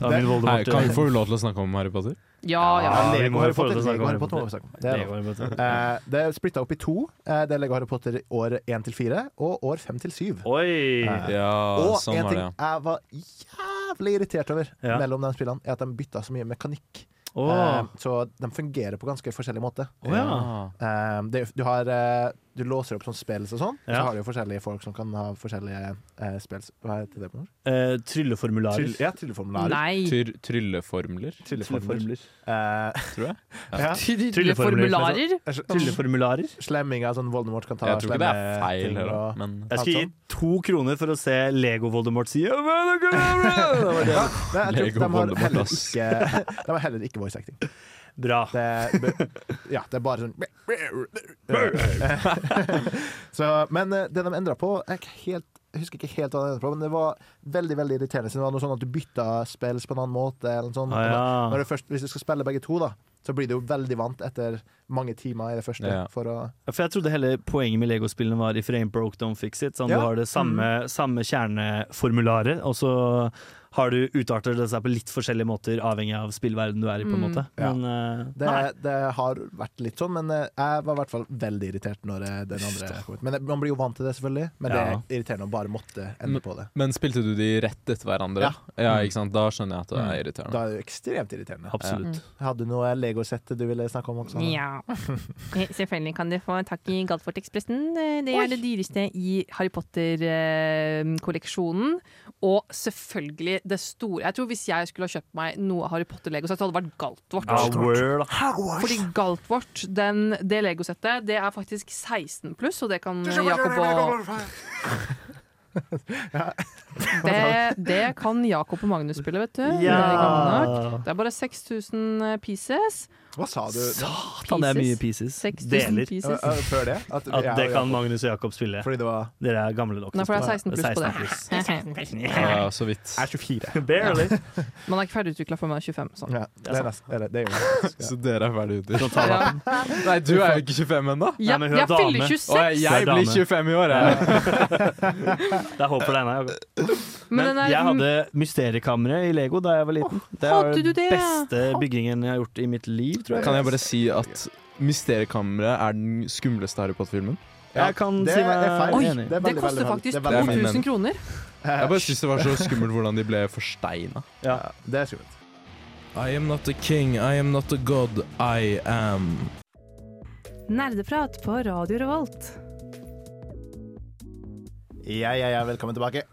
Da
Hei,
vil Voldemort
kan vi få lov til å snakke om Harry Potter?
Ja, ja.
Ja, vi
Lego
må jo
Eh, Harry
få
Potter.
lov til å snakke
Lego
om
Harry
Harry
Potter må vi snakke om. Det er lov.
Lego, vet du.
Eh, Det er splitta opp i to. Eh, Det er Lego Harry Potter år 1 til 4 og år 5 til 7.
Oi!
Eh,
Ja,
Og
sånn
en
var
ting
det, ja.
jeg var jævlig irritert over
Ja.
mellom de spillene, er at de bytta så mye mekanikk.
Åh.
Eh, Så de fungerer på ganske forskjellig måte.
Å, ja.
Ah.
Eh, det- Du, har, eh, du låser opp sånn spels og sånn,
Ja.
så har du jo forskjellige folk som kan ha forskjellige eh, spels Hva heter det på norsk?
Eh,
Tryll,
trylleformularer.
ja, trylleformularer.
Nei.
Tyr, trylleformler,
Trylleformler. Eh,
tror jeg.
ja. Altså,
Tydelige
Trylleformularer.
formularer.
Trylleformularer.
Slemminger, sånn Voldemort kan ta
Jeg tror ikke det er
slemme
feil,
ting
heller, da,
og-
men
Jeg skal gi
sånn.
to kroner for å se Lego-Voldemort si «Ja, men, det kan jeg gjøre!»
Ja, men jeg
Lego
tror de har
Voldemort, altså.
heller
ass.
ikke De har heller ikke voice acting.
Bra.
Det, er b- ja, det er bare sånn så, Men eh, det de endra på jeg, er ikke helt, jeg husker ikke helt hva de endra på, men det var veldig veldig irriterende. Så Det var noe sånn at du bytta spills på en annen måte. Eller noe sånt.
Ah, ja.
Når du først, hvis du skal spille begge to, da, så blir du jo veldig vant etter mange timer i det første.
Ja.
For å,
Ja, For jeg trodde hele poenget med Lego-spillene var if it ain't broke, don't fix it. Sånn,
Ja.
Du har det samme, samme kjerneformularet, og så har du utarter det seg på litt forskjellige måter, avhengig av spillverden du er i, på en måte.
Ja.
Men eh,
det,
nei.
det har vært litt sånn, men eh, jeg var i hvert fall veldig irritert når eh, den andre kom ut. Men eh, man blir jo vant til det, selvfølgelig. Men det
Ja.
er irriterende å bare måtte ende på det.
Men spilte du de rett etter hverandre?
Ja.
Ja, ikke sant? Da skjønner jeg at det er irriterende.
Da er det jo ekstremt irriterende.
Absolutt.
Hadde du noe Lego-sett du ville snakke om også?
Ja. Eh, Selvfølgelig kan dere få tak i Galtfort-ekspressen. Eh, Det er det dyreste i Harry Potter-kolleksjonen. Og selvfølgelig det store Jeg tror Hvis jeg skulle ha kjøpt meg noe Harry Potter-lego, så hadde det vært Galtvort.
Ja, word, da.
Fordi Galtvort, den, det legosettet, det er faktisk 16 pluss, og det kan Jakob og det, det kan Jakob og Magnus spille, vet du. Det er i gang nok.
Ja.
Det er bare 6000 pieces.
Hva sa du
Satan, det er mye pieces.
6000
Ø-
Deler.
pieces.
ø, før det? At,
At
jeg og
det kan
Jakob-
Magnus og Jakob spille.
Fordi det var
Dere er gamle nok.
Nei, for det er 16
til å
pluss på det.
spille. 16 pluss.
Ja, så vidt.
Jeg er 24.
Barely.
Man er ikke ferdigutvikla før man er 25. Sånn.
Ja, det er nesten eller, det. Er jo, ja.
Så dere er ferdig ute?
Ja.
Nei, du er jo ikke 25 ennå!
Ja,
men hun er
jeg fyller
dame.
26,
Og jeg, jeg
Det er
blir
dame.
25 i år, jeg.
Det er håp for deg ennå, Jakob.
men
Men
den er,
jeg hadde mysteriekammeret i Lego da jeg var liten. Det
hadde
er
du
den
det?
beste byggingen jeg har gjort i mitt liv, tror jeg.
Kan jeg bare si at Mysteriekammeret er den skumleste Harry Potter-filmen?
jeg kan
det
si
er-
meg
det er feil.
Oi,
enig.
Det er
Det
veldig,
koster
veldig,
faktisk
veldig- det er veldig-
2000 kroner.
Jeg bare syns det var så skummelt hvordan de ble forsteina.
Ja, det er skummelt.
I am not a king, I am not a god, I am
Nerdeprat på Radio Revolt.
Ja, ja, ja, velkommen tilbake.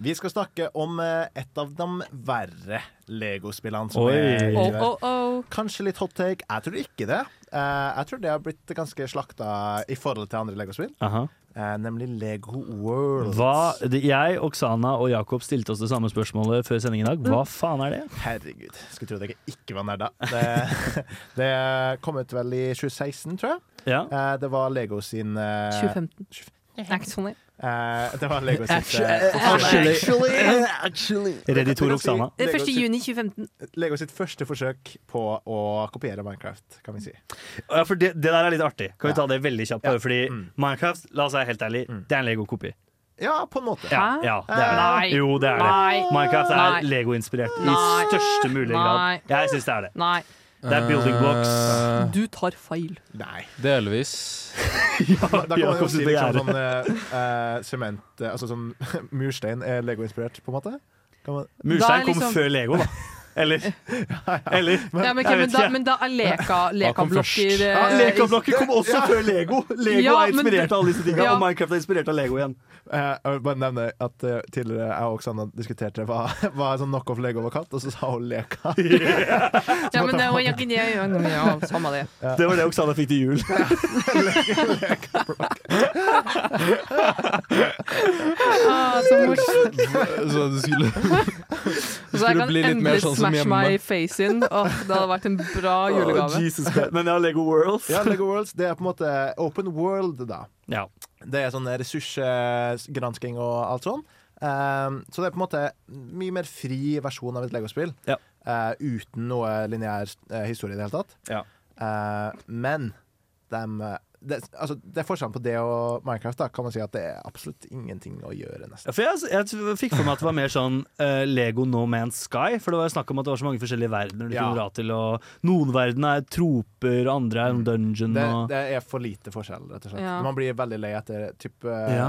Vi skal snakke om eh, et av de verre Lego-spillene som
Oi.
er i
Oh,
verden.
oh, oh.
Kanskje litt hot take. Jeg tror ikke det. Eh, jeg tror det har blitt ganske slakta i forhold til andre Lego-spill,
Aha.
eh, nemlig Lego World.
Hva, det, jeg, Oksana og Jakob stilte oss det samme spørsmålet før sending i dag. Hva
Mm.
faen er det?
Herregud. Skulle tro at jeg ikke var nerda. Det, det kom ut vel i 2016, tror jeg.
Ja.
Eh, det var Lego sin eh,
2015. Det er ikke sånn det.
eh, Det var Lego sitt eh,
Actually,
Actually.
Reditor Oksana.
Det er
Lego
1.
sitt-
juni 2015.
Lego sitt første forsøk på å kopiere Minecraft, kan vi si.
Ja, for det, det der er litt artig. Kan vi ta det veldig kjapt?
Ja.
bare Fordi
Mm.
Minecraft, la oss være helt ærlig, det er en Lego-kopi.
Ja, på en måte.
Ja,
Hæ?
ja, det er
Nei.
det. Jo, det er det.
Nei.
Minecraft
Nei.
er Lego-inspirert i
Nei.
største mulige
Nei.
grad. Jeg syns det er det.
Nei,
Det er building blocks.
Eh,
du tar feil.
Nei.
delvis.
Da kan man jo
Jakob
si
sitter
liksom
gjerde.
sånn eh, eh, sement eh, Altså sånn murstein er Lego-inspirert, på en måte. Kan man,
Murstein
Da er
kom
liksom-
før Lego, da. Eller? Eller?
Ja, men, ok,
Jeg vet
men, da,
ikke.
men da er leka, lekablokker
Ja,
eh,
Lekablokker kom også før Lego! Lego
Ja,
er
men
inspirert
det-
av alle disse tingene,
Ja.
og Minecraft er inspirert av Lego igjen.
eh, jeg vil bare nevne at eh, tidligere jeg og Oksana diskuterte hva, hva er sånn knockoff Lego var kalt, og så sa hun leka.
Ja, men det var ikke det. Ja, ja, samme det.
Det var det Oksana fikk til jul.
Ah, så morsomt.
Så du skulle
Så jeg
Skulle
kan
bli litt mer
endelig
sånn som
smash
hjemme. Ah,
my face in. Åh, det hadde vært en bra
Å,
julegave.
Jesus Christ. Men ja, Lego World.
Ja, Lego Worlds, det er på en måte open world, da.
Ja.
Det er sånn ressursgransking og alt sånn. Ehm, så det er på en måte mye mer fri versjon av et legospill.
Ja.
Eh, uten noe lineær eh, historie i det hele tatt.
Ja.
Eh, men dem, eh, det, altså, det er forskjellen på det og Minecraft. Da, kan man si at Det er absolutt ingenting å gjøre, nesten.
Ja, For jeg, jeg fikk for meg at det var mer sånn eh, Lego No Man's Sky. For det var jo snakk om at det var så mange forskjellige verdener du
Ja.
kunne dra til. Og noen verdener er troper, og andre er en dungeon.
Det,
og...
det er for lite forskjell, rett og slett.
Ja.
Man blir veldig lei etter typ, eh,
Ja,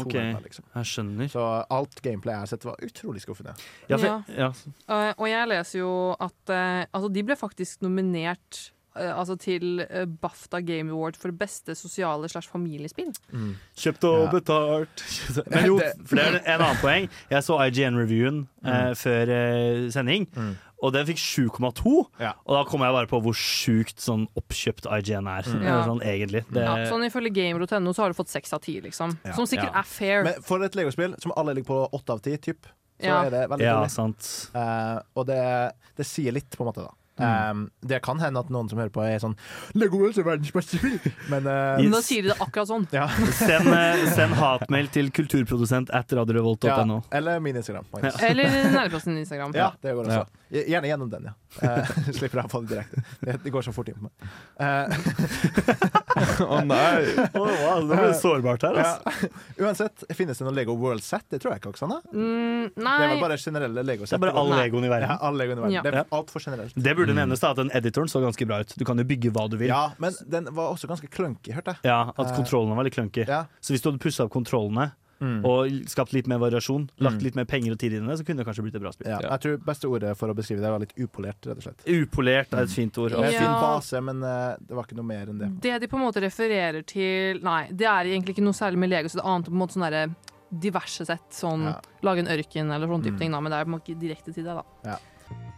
to
ok.
runder, liksom.
Jeg skjønner.
Så alt gameplay jeg har sett, var utrolig skuffende.
Ja, for,
Ja.
ja.
Eh, og jeg leser jo at eh, altså de ble faktisk nominert eh, altså til eh, BAFTA Game Award for beste sosiale slash familiespill.
Kjøpt og
Ja.
betalt. Men jo, for det er en annen poeng. Jeg så IGN-reviewen
Mm.
eh, før eh, sending, og den fikk 7,2.
Ja.
Og da kom jeg bare på hvor sjukt sånn oppkjøpt IGN
Mm.
er.
Ja.
Sånn egentlig. Det,
Ja,
Eh,
sånn Ifølge gamer.no så har du fått seks av ti, liksom.
Ja.
Som sikkert
Ja.
er fair.
Men for et legospill som alle ligger på åtte av ti, typ, så
Ja.
er det veldig
ja,
dårlig.
sant.
Eh, og det, det sier litt, på en måte. da
Mm.
Eh, Det kan hende at noen som hører på, er sånn Lego Worlds er verdens beste spill! Men eh,
Men Nå sier de det akkurat sånn.
ja.
Send, eh, send hatmail til kulturprodusent at
ja.
radiorevolt.no.
Eller min Instagram. Magnus.
Eller nærmest en Instagram.
Ja, det går også. Gjerne gjennom den, ja. Eh, slipper jeg å få det direkte. Det, det går så fort inn på meg. Eh,
Å nei!
Å, wow, det ble sårbart her, altså.
ja. Uansett, finnes det noen Lego World-sett? Det tror jeg ikke, Oksana.
Mm,
Det er vel
nei,
bare generelle Lego-sett.
Det er bare all
Nei.
legoen i
ja,
verden.
alle Lego i verden.
Ja.
Det er altfor generelt.
Det burde nevnes da at den editoren så ganske bra ut. Du kan jo bygge hva du vil. Ja,
Ja, men den var også ganske clunky, hørte jeg.
At
Eh,
kontrollene var litt clunky.
Ja.
Så hvis du hadde pussa opp kontrollene
Mm.
og skapt litt mer variasjon, lagt litt mer penger og tid inn i det, så kunne det kanskje blitt et bra spill.
Ja. Jeg tror beste ordet for å beskrive det var litt upolert, rett og slett.
Upolert er et fint ord.
Det var En
altså.
fin
Ja.
base, men eh, det var ikke noe mer enn det.
det de på en måte refererer til Nei, det er egentlig ikke noe særlig med Lego, så det er annet på en måte sånn derre diverse sett. Sånn
Ja.
lage en ørken eller sånn
Mm.
type ting, da, men det er på en måte ikke direkte til deg, da.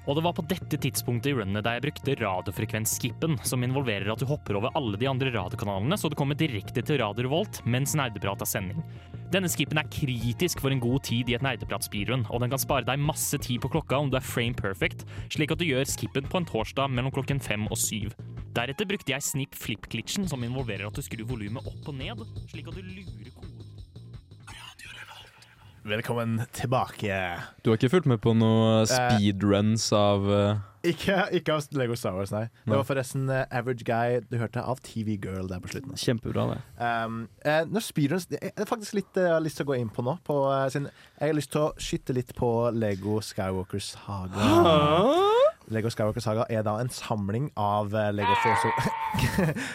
Og det var på dette tidspunktet i runnet der jeg brukte radiofrekvensskippen, som involverer at du hopper over alle de andre radiokanalene, så du kommer direkte til Radio Revolt mens nerdeprat er sending. Denne skippen er kritisk for en god tid i et nerdepratspirun, og den kan spare deg masse tid på klokka om du er frame perfect, slik at du gjør skippen på en torsdag mellom klokken fem og syv. Deretter brukte jeg snip flip-glitchen, som involverer at du skrur volumet opp og ned, slik at du lurer koden.
Velkommen tilbake.
Du har ikke fulgt med på noe
Eh,
speedruns av eh,
Ikke, ikke av Lego Star Wars, nei. Det
Nei.
var forresten eh, Average Guy du hørte av TV Girl der på slutten.
Kjempebra, det.
Um, eh, når speedruns Det er faktisk litt eh, jeg har lyst til å gå inn på nå. På, eh, sin, jeg har lyst til å skyte litt på Lego Skywalker Saga. Lego Skywalker Saga er da en samling av eh, Lego Force,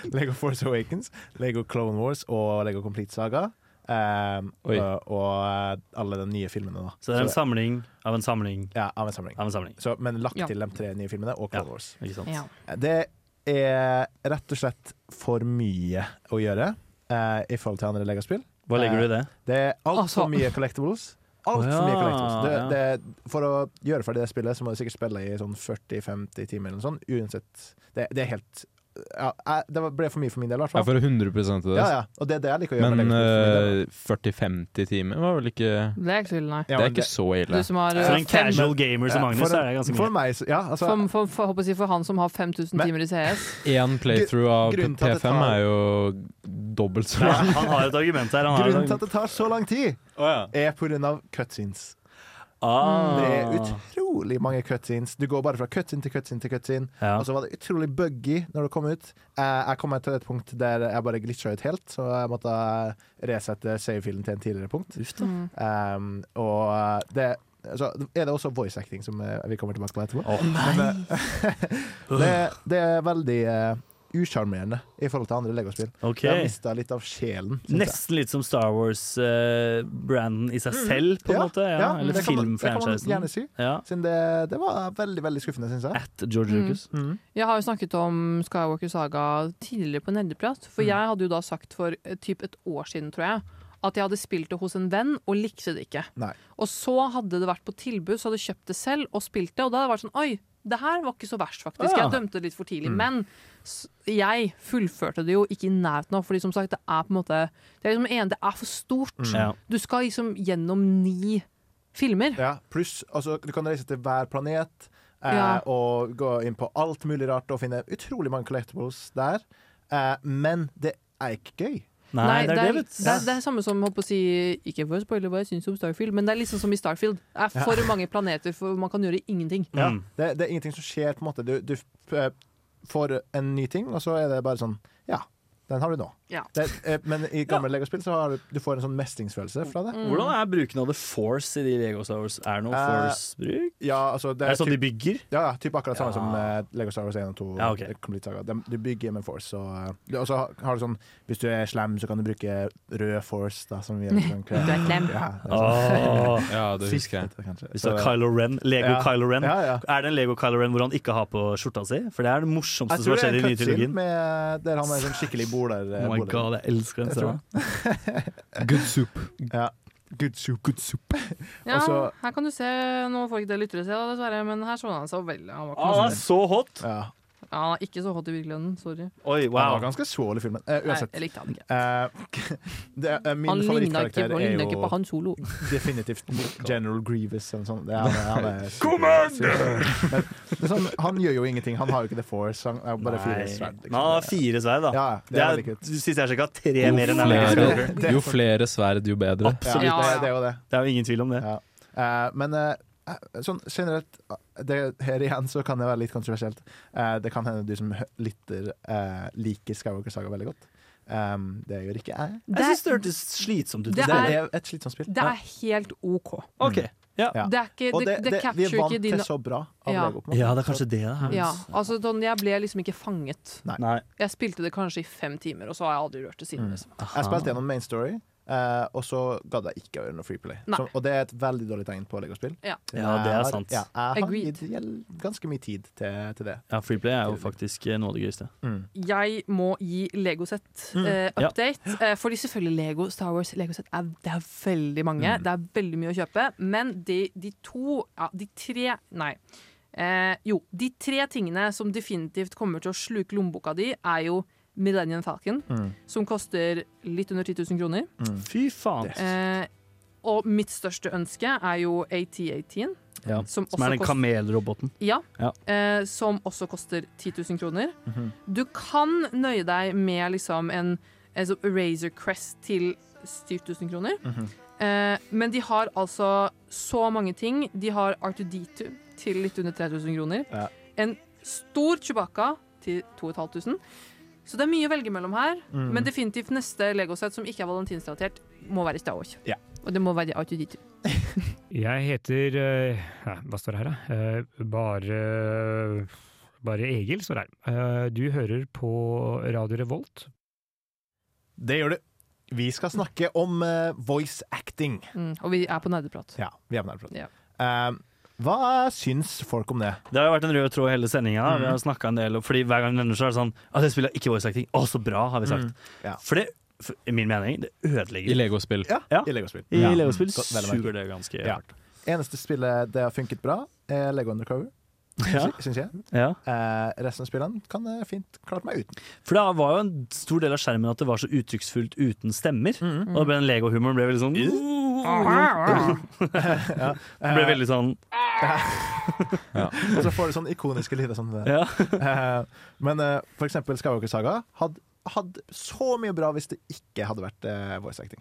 Lego Force Awakens, Lego Clone Wars og Lego Complete Saga. Um,
Oi.
og, og eh, alle de nye filmene, da.
Så det er en samling av en samling
ja, av en samling.
av en samling.
Så, men lagt
Ja.
til de tre nye filmene og Clone
Ja.
Wars.
Ikke sant?
Ja.
Det er rett og slett for mye å gjøre eh, i forhold til andre legaspill.
Hva legger du i det?
Det er altfor
Altså-
mye collectibles. Altfor mye
Ja,
collectibles. Det, det, for å gjøre ferdig det spillet, så må du sikkert spille i sånn 40-50 timer eller noe sånt. Uansett. Det, det er helt ja, jeg- Det var- ble for mye for min del, i hvert
Ja,
fall.
for 100 til det. altså.
Ja, ja. Og det er det jeg liker å gjøre. med
Men
Lego Spirit for min del.
eh, 40-50 timer var vel ikke
Det er ikke så ille, nei.
Ja,
Det er
men
ikke så
Du
ille.
som har
For en
eh, fem,
casual gamer som
ja,
Magnus
for,
er det ganske
for
mye.
meg, så- ja, altså,
for, for, for, håper jeg å si, for han som har 5000
Men-
timer i CS.
Én playthrough av
Grunnen til at det
P5
tar-
er jo dobbelt så
Ja,
lang.
han har et argument her. Han har et
Grunnen til at
argument.
det tar så lang tid, er pga. cutscenes.
Ah.
Det er utrolig mange cutscenes. Du går bare fra cutscene til cutscene til cutscene.
Ja.
Og så var det utrolig buggy når det kom ut. Jeg, jeg kom meg til et punkt der jeg bare glitcha ut helt, så jeg måtte resette savefilen til en tidligere punkt.
Mm.
Um, og det så er det også voice acting, som eh, vi kommer tilbake på etterpå. Men, eh, det, det er veldig uh, usjarmerende i forhold til andre Lego-spill.
Ok.
Jeg har mista litt av sjelen. synes jeg. Mm.
Nesten litt som Star Wars-branden i seg selv, på en
Ja,
måte. Ja.
ja,
Eller
det kan man- det kan man gjerne
filmfranchisen.
si.
Ja.
Siden det, det var veldig veldig skuffende, syns jeg.
At George
Mm.
Lucas.
Jeg har jo snakket om Skywalker Saga tidligere på Nerdeprat, for jeg hadde jo da sagt for eh, typ et år siden, tror jeg, at jeg hadde spilt det hos en venn og likte det ikke.
Nei.
Og så hadde det vært på tilbud, så hadde jeg kjøpt det selv og spilt det, og da hadde det vært sånn Oi, det her var ikke så verst, faktisk.
Ah, ja.
Jeg dømte det litt for tidlig. Men s- jeg fullførte det jo ikke i nærheten av, fordi som sagt, det er på en måte Det er liksom en, det er for stort.
Mm. Ja.
Du skal liksom gjennom ni filmer.
Ja, pluss altså, du kan reise til hver planet eh,
Ja.
og gå inn på alt mulig rart og finne utrolig mange collectibles der. Eh, men det er ikke gøy.
Nei, det er det, vet
det, er, det er samme som holdt på å si Ikke for å spoile hva jeg syns om Starfield, men det er liksom som i Starfield. Det er for mange planeter, for man kan gjøre ingenting.
Ja. Mm.
Det, det er ingenting som skjer. på en måte Du, du eh, får en ny ting, og så er det bare sånn Ja, den har du nå.
Ja. Mm.
Det, eh, men i gamle Lego-spill så har du, du får en sånn mestringsfølelse fra det.
Hvordan er bruken av The Force i de Lego Star Wars? Er det noe
Mm. Eh,
Force-bruk?
Ja, altså det
Er det
er
sånn de
typ,
bygger?
ja, ja, typ akkurat samme
Ja.
som eh, Lego Star Wars 1 og 2.
Ja, ok.
Complete Saga. De, du bygger med force. Og, eh, og så har- har du sånn Hvis du er slem, så kan du bruke rød force. Da, som vi gjør i sånn-
Du er klem.
Ja, det er
Ah,
sånn.
Åh.
Ja, det husker jeg.
Hvis du har Kylo Ren, Lego
Ja.
Kylo Ren
Ja, ja.
Er det en Lego Kylo Ren hvor han ikke har på skjorta si? For det er det
Jeg
morsomste som
tror
har
det er en
skjedd i den nye
cutscene
trilogien.
med- der han er sånn skikkelig boler.
Oh
boler.
my god, jeg elsker den
Jeg tror
serien.
Good soup.
Ja. Good soup, good soup.
Ja,
Og så-
her kan du se Nå får ikke det lyttere se, da, dessverre, men her så han seg veldig Han var ikke,
Ah,
noe
den er så hot!
Ja.
sånn- ja, han er ikke så hot i virkeligheten. Sorry.
Oi,
Han var
wow.
ganske svål i filmen. Eh,
Nei,
uansett.
jeg likte han ikke.
Eh, det er, eh, min
Han ligna ikke,
favorittkarakter
han
er
lignet ikke på
jo
han solo.
definitivt General Grievous eller noe sånt. Det er, han er, han er Commander! Det er sånn, han gjør jo ingenting. Han har jo ikke The Force. Han er bare fire
Nei.
sverd. liksom.
Men han har fire sverd, da.
Ja, ja,
Det er,
veldig kult.
Sist jeg sjekka, tre
Jo
mer enn Lego Star Wars.
flere,
Det er Ah,
jo flere sverd, jo bedre.
Ja,
Absolutt.
det,
Ja, ja.
det er jo det.
Det er jo ingen tvil om det.
Ja. Eh, men eh, sånn generelt det, Her igjen så kan det være litt kontroversielt. Eh, det kan hende du som hø- lytter eh, liker Skywalker Saga veldig godt. Um, det gjør ikke jeg.
Det
Jeg syns
er,
det hørtes slitsomt
Det
ut.
Det
er-
er, et slitsomt spill.
det er helt OK.
Ok.
Ja.
Det er ikke
Og
Det, det,
vi er
capture
vant
ikke dine
til så bra av
Ja.
Lego. på en måte.
Ja, det er kanskje det, da.
ja, altså, sånn, jeg ble liksom ikke fanget.
Nei.
Jeg spilte det kanskje i fem timer, og så har jeg aldri rørt det siden. Liksom.
Jeg spilte gjennom Main Story, eh, og så gadd jeg ikke å gjøre noe Freeplay.
Nei.
Og det er et veldig dårlig tegn på Lego-spill.
Ja.
Ja, det er
Jeg har-
sant.
Ja, jeg har
Agreed.
gitt gjeld- ganske mye tid til, til det.
Ja, Freeplay er jo faktisk eh, noe av det gøyeste.
jeg må gi Legosett eh,
Mm. Ja.
update. Eh, fordi selvfølgelig Lego, Star Wars, Legosett er, det er veldig mange.
Mm.
Det er veldig mye å kjøpe. Men de, de to ja, De tre Nei. Eh, jo, de tre tingene som definitivt kommer til å sluke lommeboka di, er jo Millennium Falcon,
Mm.
som koster litt under 10 000 kroner.
Fy faen.
Eh, og mitt største ønske er jo AT18,
Ja.
som
Som
også
er den
koster
kamelroboten.
ja,
Ja.
Eh, som også koster 10 000 kroner.
Mhm.
Du kan nøye deg med liksom en, en sånn Razor Crest til 7000 kroner.
Mhm.
eh, men de har altså så mange ting. De har R2D2 til litt under 3000 kroner.
Ja.
En stor Chewbacca til 2500. Så det er mye å velge mellom her.
Mhm.
Men definitivt neste Lego-sett som ikke er valentinsrelatert, må være Star Wars.
Ja.
Og det må være R2D2.
Jeg heter eh, nei, Hva står det her, da? Eh, Bare Bare Egil står det her. Eh, Du hører på Radio Revolt.
Det gjør du. Vi skal snakke om eh, voice acting.
Mm. Og vi er på nerdeprat.
Ja, vi er på nærprat.
Ja.
Eh, hva syns folk om det?
Det har jo vært en rød tråd i hele sendinga. Vi har snakket en del om- Fordi Hver gang det nevner seg, er det sånn At det spiller ikke voice acting. Å, så bra, har vi sagt.
Ja.
For det f- i min mening, det ødelegger.
I Lego-spill.
Ja,
i Lego-spill.
I
Ja.
Lego-spill
Godt, vel å merke.
suger det ganske
Ja.
hardt.
Eneste spillet det har funket bra, er Lego Undercover,
Ja.
syns jeg.
Ja.
Eh, resten av spillene kan jeg fint klart meg uten.
For det var jo en stor del av skjermen at det var så uttrykksfullt uten stemmer. Og da ble den Lego-humoren ble veldig sånn Det ble veldig sånn
Eh, Og så får du sånne ikoniske lyder som det.
Ja.
Eh, men eh, for eksempel Skywalker Saga hadde, hadde så mye bra hvis det ikke hadde vært eh, voice acting.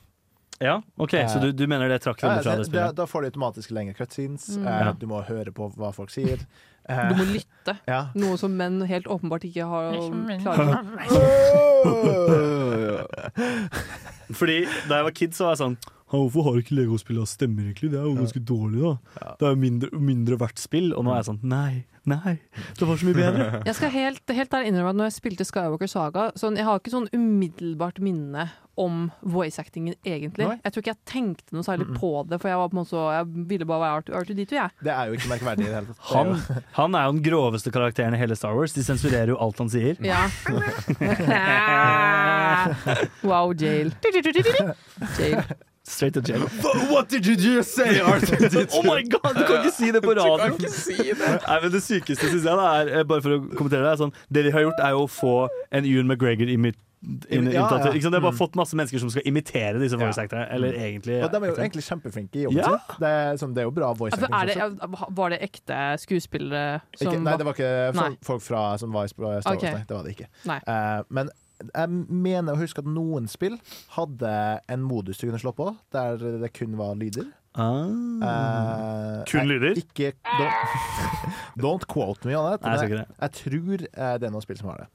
Ja, OK, så du, du mener det trakk
Ja,
veldig fra
det,
det
det,
spillet?
da får du automatisk lengre cutscenes.
Mm.
eh,
Ja.
Du må høre på hva folk sier. Eh,
Du må lytte.
ja.
Noe som menn helt åpenbart ikke har klarer.
Fordi da jeg var kid, så var jeg sånn «Ha, Hvorfor har ikke Lego-spillene stemmer, egentlig? Det er jo ganske dårlig, da. Det er jo mindre, mindre verdt spill. Og nå er jeg sånn Nei, nei, det var så mye bedre.
Jeg skal helt, helt ærlig innrømme at når jeg spilte Skywalker Saga, sånn, jeg har ikke sånn umiddelbart minne om voice-actingen, egentlig.
Nei.
Jeg tror ikke jeg tenkte noe særlig på det, for jeg var på en måte så Jeg ville bare være R2D2, jeg.
Det er jo ikke merkverdig i det hele tatt. Det er
Han,
jo-
han er jo den groveste karakteren i hele Star Wars. De sensurerer jo alt han sier.
Ja. wow, jail. Jail.
Straight to jail.
What did you just say, Arthur?
Oh my god, du kan ikke si det på radioen! Nei, men Det sykeste synes jeg da er eh, Bare for å kommentere det er sånn, Det de har gjort, er jo å få en Ewan McGregor imit... In,
Ja,
imitatør.
ja.
Ikke sant? De har bare fått masse mennesker som skal imitere disse voice actors. Eller egentlig
Og de er jo egentlig kjempeflinke i jobben
Ja.
sin. Det er, sånn, det er jo bra voice
Altså,
acting.
er det,
sånn sett.
var det ekte skuespillere som
ikke, nei, det var ikke
Nei.
folk, folk fra, som var i Sp- Star Wars,
Ok.
nei. Det var det ikke.
Nei.
Eh, men jeg mener å huske at noen spill hadde en modus du kunne slå på, der det kun var lyder.
Mm.
ah.
Eh,
Kun
jeg-
lyder?
Ikke don't, don't quote me on it.
Nei, jeg
men
skal ikke det.
jeg tror eh, det er noen spill som har det.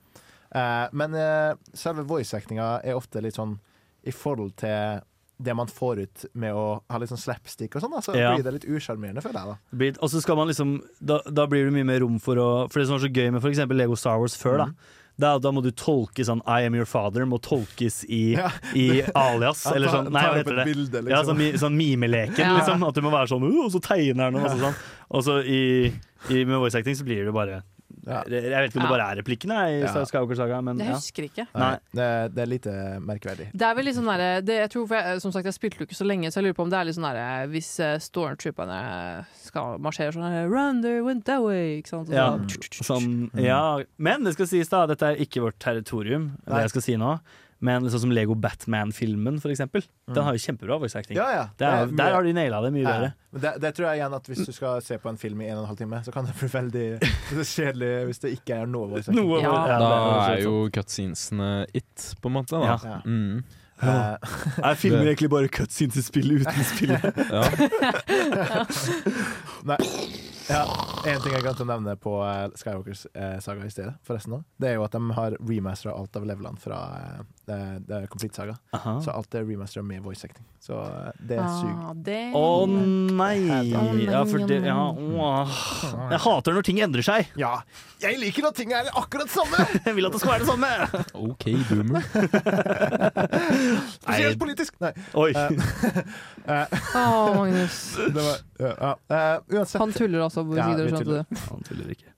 Eh, men eh, selve voice-actinga er ofte litt sånn i forhold til det man får ut med å ha litt sånn slapstick og sånn, da, så
Ja.
blir det litt usjarmerende, føler jeg. da
Det blir- Og så skal man liksom da, da blir det mye mer rom for å For det som var så gøy med for eksempel Lego Star Wars
Mm.
før, da. Da, da må du tolke sånn I am your father må tolkes i,
Ja.
i alias,
Ja,
eller
ta-
sånn Nei,
ta
hva
opp
heter
et
det?
bilde, liksom.
Ja, sånn, mi- sånn mimeleken,
Ja.
liksom. At du må være sånn uh, Og så tegner han, og så sånn. Og så i, i, med voice acting så blir det bare
Ja.
Jeg vet ikke om det
Ja.
bare er replikkene i
Ja.
Star Skywalker Saga, men
Jeg
ja.
husker ikke.
Nei.
Det, det er lite merkverdig.
Det er vel litt sånn derre det- Jeg tror, for jeg, som sagt, jeg spilte jo ikke så lenge, så jeg lurer på om det er litt sånn derre Hvis eh, stormtrooperne skal marsjere sånn her, Run, they went that way, ikke sant? Og
Ja,
så-
sånn, ja. Men det skal sies, da. Dette er ikke vårt territorium,
Nei.
det jeg skal si nå. Men sånn som Lego Batman-filmen, for eksempel. Den har jo kjempebra voice acting.
Ja, ja.
Mm. Det er,
Det er mye-
der har de naila det mye
Ja.
bedre.
Men det, det tror jeg igjen at hvis du skal se på en film i en og en halv time, så kan det bli veldig det er kjedelig hvis det ikke er noe voice acting.
Noe-
Ja.
det
Da
er
er jo cutscenesene it, på en måte. Da.
Ja.
Ja.
Mm.
Eh,
filmer
Er filmer egentlig bare cutscenes i spillet uten spillet?
Ja.
Nei. Ja, en ting jeg glemte å nevne på eh, Skywalkers eh, saga i stedet, forresten nå, det er jo at de har remastera alt av levelene fra eh, eh, Complete Saga. Så alt er remastera med voice acting. Så eh, det suger.
Ah, det
Å nei! Ja, for det, ja, åh. Jeg hater når ting endrer seg.
Ja, jeg liker at ting er akkurat samme!
Jeg vil at det skal være det samme!
OK, boomer.
Spesielt politisk! Nei. Eh,
Oi.
Å, Magnus.
Det var, ja, ja. Eh, uansett,
Han tuller altså, hvor
Ja,
sier dere
vi
skjønte
tuller.
det?
Han tuller ikke.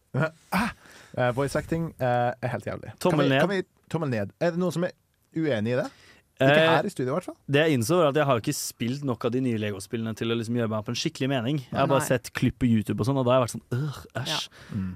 eh, voice acting eh, er helt jævlig.
Tommel ned.
Kan vi, kan vi, tommel ned. Er det noen som er uenig i det? Ikke
Eh,
her i studio, i hvert fall.
det jeg innså, var at jeg har ikke spilt nok av de nye Lego-spillene til å liksom gjøre meg opp en skikkelig mening. Jeg har bare
Nei.
sett klipp på YouTube, og sånn, og da har jeg vært sånn øh, æsj.